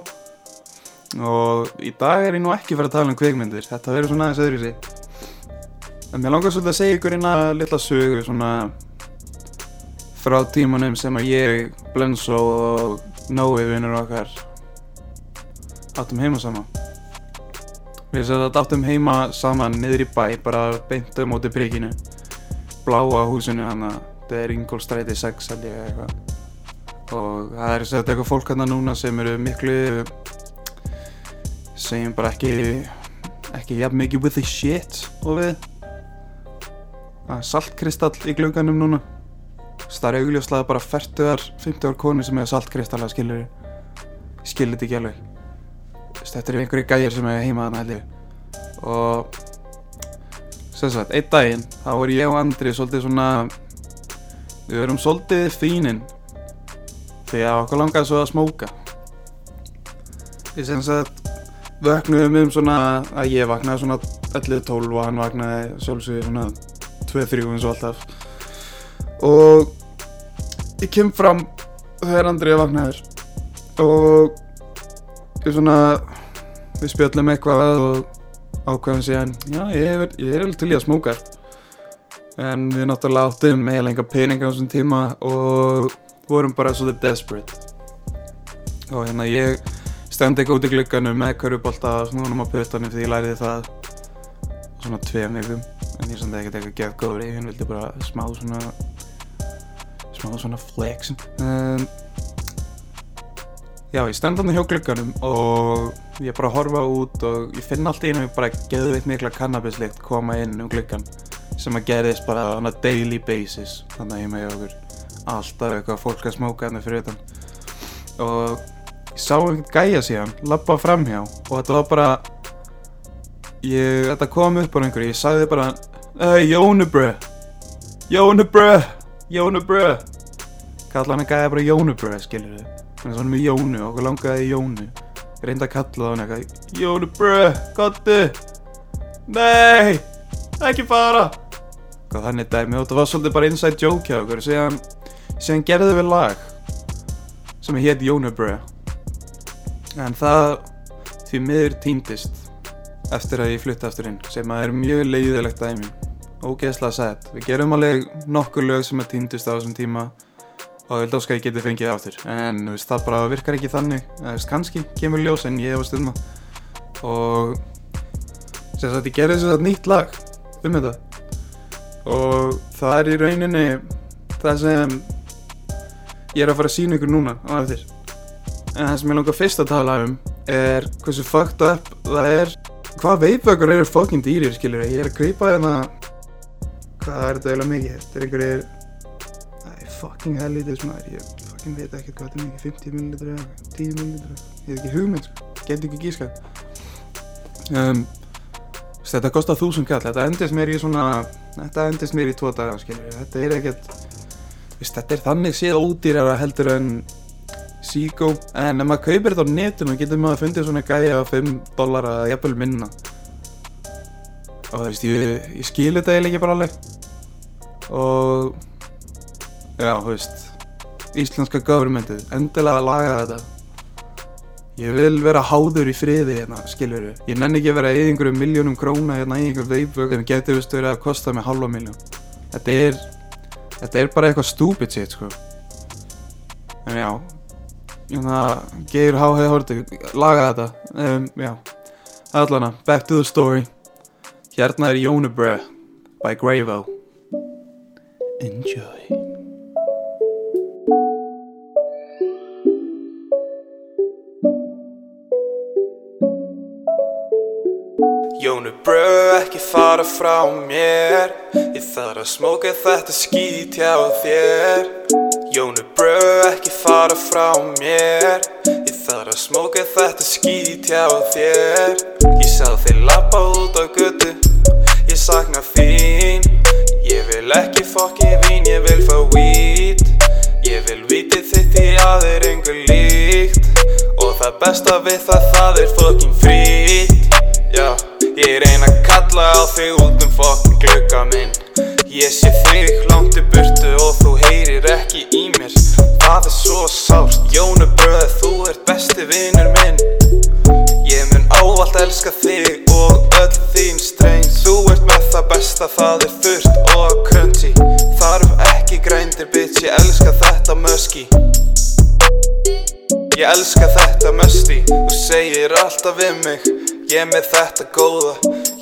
Speaker 8: Og í dag er ég nú ekki fyrir að tala um kvikmyndir. Þetta verður svona aðeins öðru sér. En mér langar svolítið að segja ykkur eina litla sögu svona frá tímanum sem að ég, Blensó og Nói vinnur okkar áttum heima saman. Við sem þetta áttum heima saman niður í bæ, bara beint á móti prikinu. Bláa húsinu hann að það er Ingolstræti 6 held ég eða eitthvað. Og það er sem þetta eitthvað fólk hann núna sem eru miklu, segjum bara ekki, ekki jafn mikið with the shit og við. Það er saltkristall í glögganum núna. Það er augljóslega bara 40-ar, 50-ar konu sem hefur saltkristalla skilur. Skilur þetta ekki alveg. Þú veist, þetta eru einhverju gæjar sem hefur heima þarna allir og sem sagt, einn daginn þá voru ég og Andri svolítið svona við verum svolítið fínin því að okkur langaði svo að smóka við sem sagt vöknuðum um svona að ég vaknaði svona 11-12 og hann vaknaði sjálfsögur svona 2-3 eins og alltaf og ég kem fram þegar Andri er vaknaður og við svona við spjöllum eitthvað og ákveðum síðan já, ég er, ég er alveg til í að smóka en við náttúrulega áttum með lenga peninga á þessum tíma og vorum bara svolítið desperate og hérna ég stend ekki út í glugganum með körfubolta og snúðum á pötunum því ég læriði það svona tveim vikum en ég samt ekkert eitthvað gefð góður ég vildi bara smá svona smá svona flex um, Já, ég stend hann hjá glugganum og ég er bara að horfa út og ég finn allt í einu bara geðveitt mikla kannabislikt koma inn um gluggan sem að gerðist bara on a daily basis þannig að ég með okkur alltaf eitthvað fólk að smóka henni fyrir utan og ég sá einhvern gæja síðan labba framhjá og þetta var bara ég, þetta kom upp á einhverju, ég sagði bara "Eh, Jónubrö Jónubrö Jónubrö kalla hann að gæja bara Jónubrö skilur þau Þannig að hann er með Jónu, okkur langaði í Jónu Ég reyndi að kalla hann eitthvað Jónu brö, gottu Nei, ekki fara Og þannig dæmi og þetta var svolítið bara inside joke hjá okkur Síðan, síðan gerðum við lag Sem hétt Jónu brö En það því miður týndist eftir að ég flutti aftur inn sem að er mjög leiðilegt dæmi ógeðslega sad við gerum alveg nokkur lög sem að týndust á þessum tíma og ég held óska að ég geti fengið það aftur en þú veist, það bara virkar ekki þannig Þú veist, kannski kemur ljós en ég hefast um það og sem sagt ég gerði sem sagt nýtt lag um þetta og það er í rauninni það sem ég er að fara að sína ykkur núna á eftir en það sem ég langar fyrst að tala um er hversu fucked up það er hvað veipökkur eru fucking dýrir skilur ég er að grípa hérna hvað er þetta eiginlega mikið þetta er einhverjir Æ, fucking helvitis maður ég fucking veit ekkert hvað þetta er mikið 50 millilitra eða 10 millilitra ég hef ekki hugmynd sko get ekki gíska um, þú veist, þetta kostar þúsund kall þetta endist mér í svona þetta endist mér í tvo daga skilur þetta er ekkert þú veist, þetta er þannig séð ódýrara heldur en Seago, en ef maður kaupir þetta á netinu getur maður að fundið svona gæja á 5 dólar að jafnvel minna og þú veist, ég, ég skil þetta eiginlega ekki bara alveg og já, þú veist íslenska governmentið, endilega að laga þetta ég vil vera háður í friði hérna, skilur ég nenni ekki að vera í einhverjum miljónum króna hérna í einhverjum veipögg sem getur veist verið að kosta mig halva miljón þetta er þetta er bara eitthvað stúpid shit sko en já, Þannig að Geir H. hefði hortið laga þetta um, Já Allana, back to the story Hérna er Jónubrö by Gravo Enjoy Jónubrö, ekki fara frá mér Ég þarf að smóka þetta skít hjá þér Jónu bröð ekki fara frá mér Ég þarf að smóka þetta skít hjá þér Ég sá þig lappa út á götu Ég sakna þín Ég vil ekki fokki vín, ég vil fá vít Ég vil víti þitt í aður engu líkt Og það besta við það, það er fokkin frít Já, ég reyna að kalla á þig út um fokkin glugga minn Ég sé þig langt í burtu og þú heyrir ekki í mér Það er svo sárt, Jónu bröð, þú ert besti vinur minn Ég mun ávallt elska þig og öll þín streng Þú ert með það besta, það er þurrt og crunchy Þarf ekki grændir bitch, ég elska þetta möski Ég elska þetta mest í Þú segir alltaf við mig Ég er með þetta góða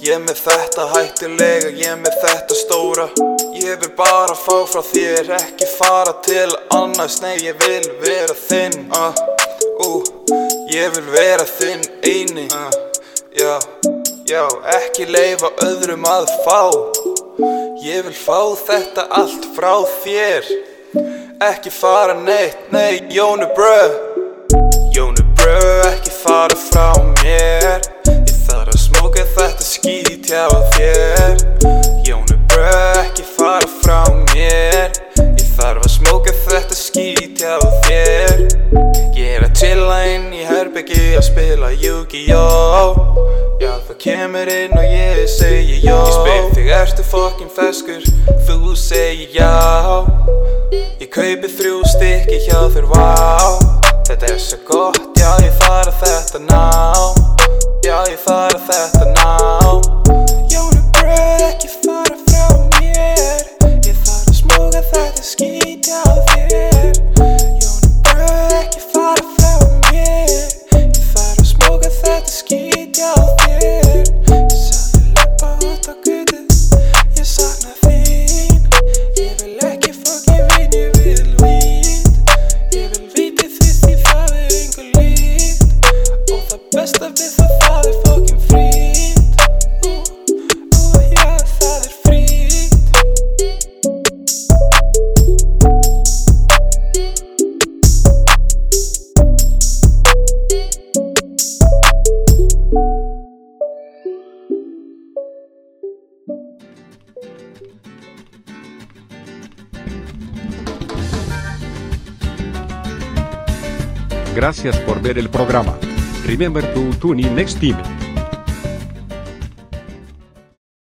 Speaker 8: Ég er með þetta hættulega Ég er með þetta stóra Ég vil bara fá frá þér Ekki fara til annars Nei, ég vil vera þinn uh, uh, Ég vil vera þinn eini uh, Já, já, ekki leifa öðrum að fá Ég vil fá þetta allt frá þér Ekki fara neitt, nei, Jónu bröð Jónu bröð ekki fara frá mér Ég þarf að smóka þetta skít hjá þér Jónu bröð ekki fara frá mér Ég þarf að smóka þetta skít hjá þér Ég er að chilla inn í herbyggi að spila Yu-Gi-Oh Já þú kemur inn og ég segi jó Ég spyr þig ertu fokkin feskur Þú segi já Ég kaupi þrjú stykki hjá þér, vá Þetta er svo gott, já ég þarf þetta ná Já ég þarf þetta ná Jónu bröð ekki fara frá mér Ég þarf að smóka þetta skít hjá þér Jónu bröð ekki fara frá mér Ég þarf að smóka þetta skít hjá þér Ég sá þig lappa út á gutu Ég sakna þín Ég vil ekki fokki vin, ég vil vít Ég vil víti þitt því það er engu líkt Og það besta við það, það er fokkin frít Ú, ú, já, það er frít
Speaker 1: Gracias por ver el programa. Remember to tune in next time.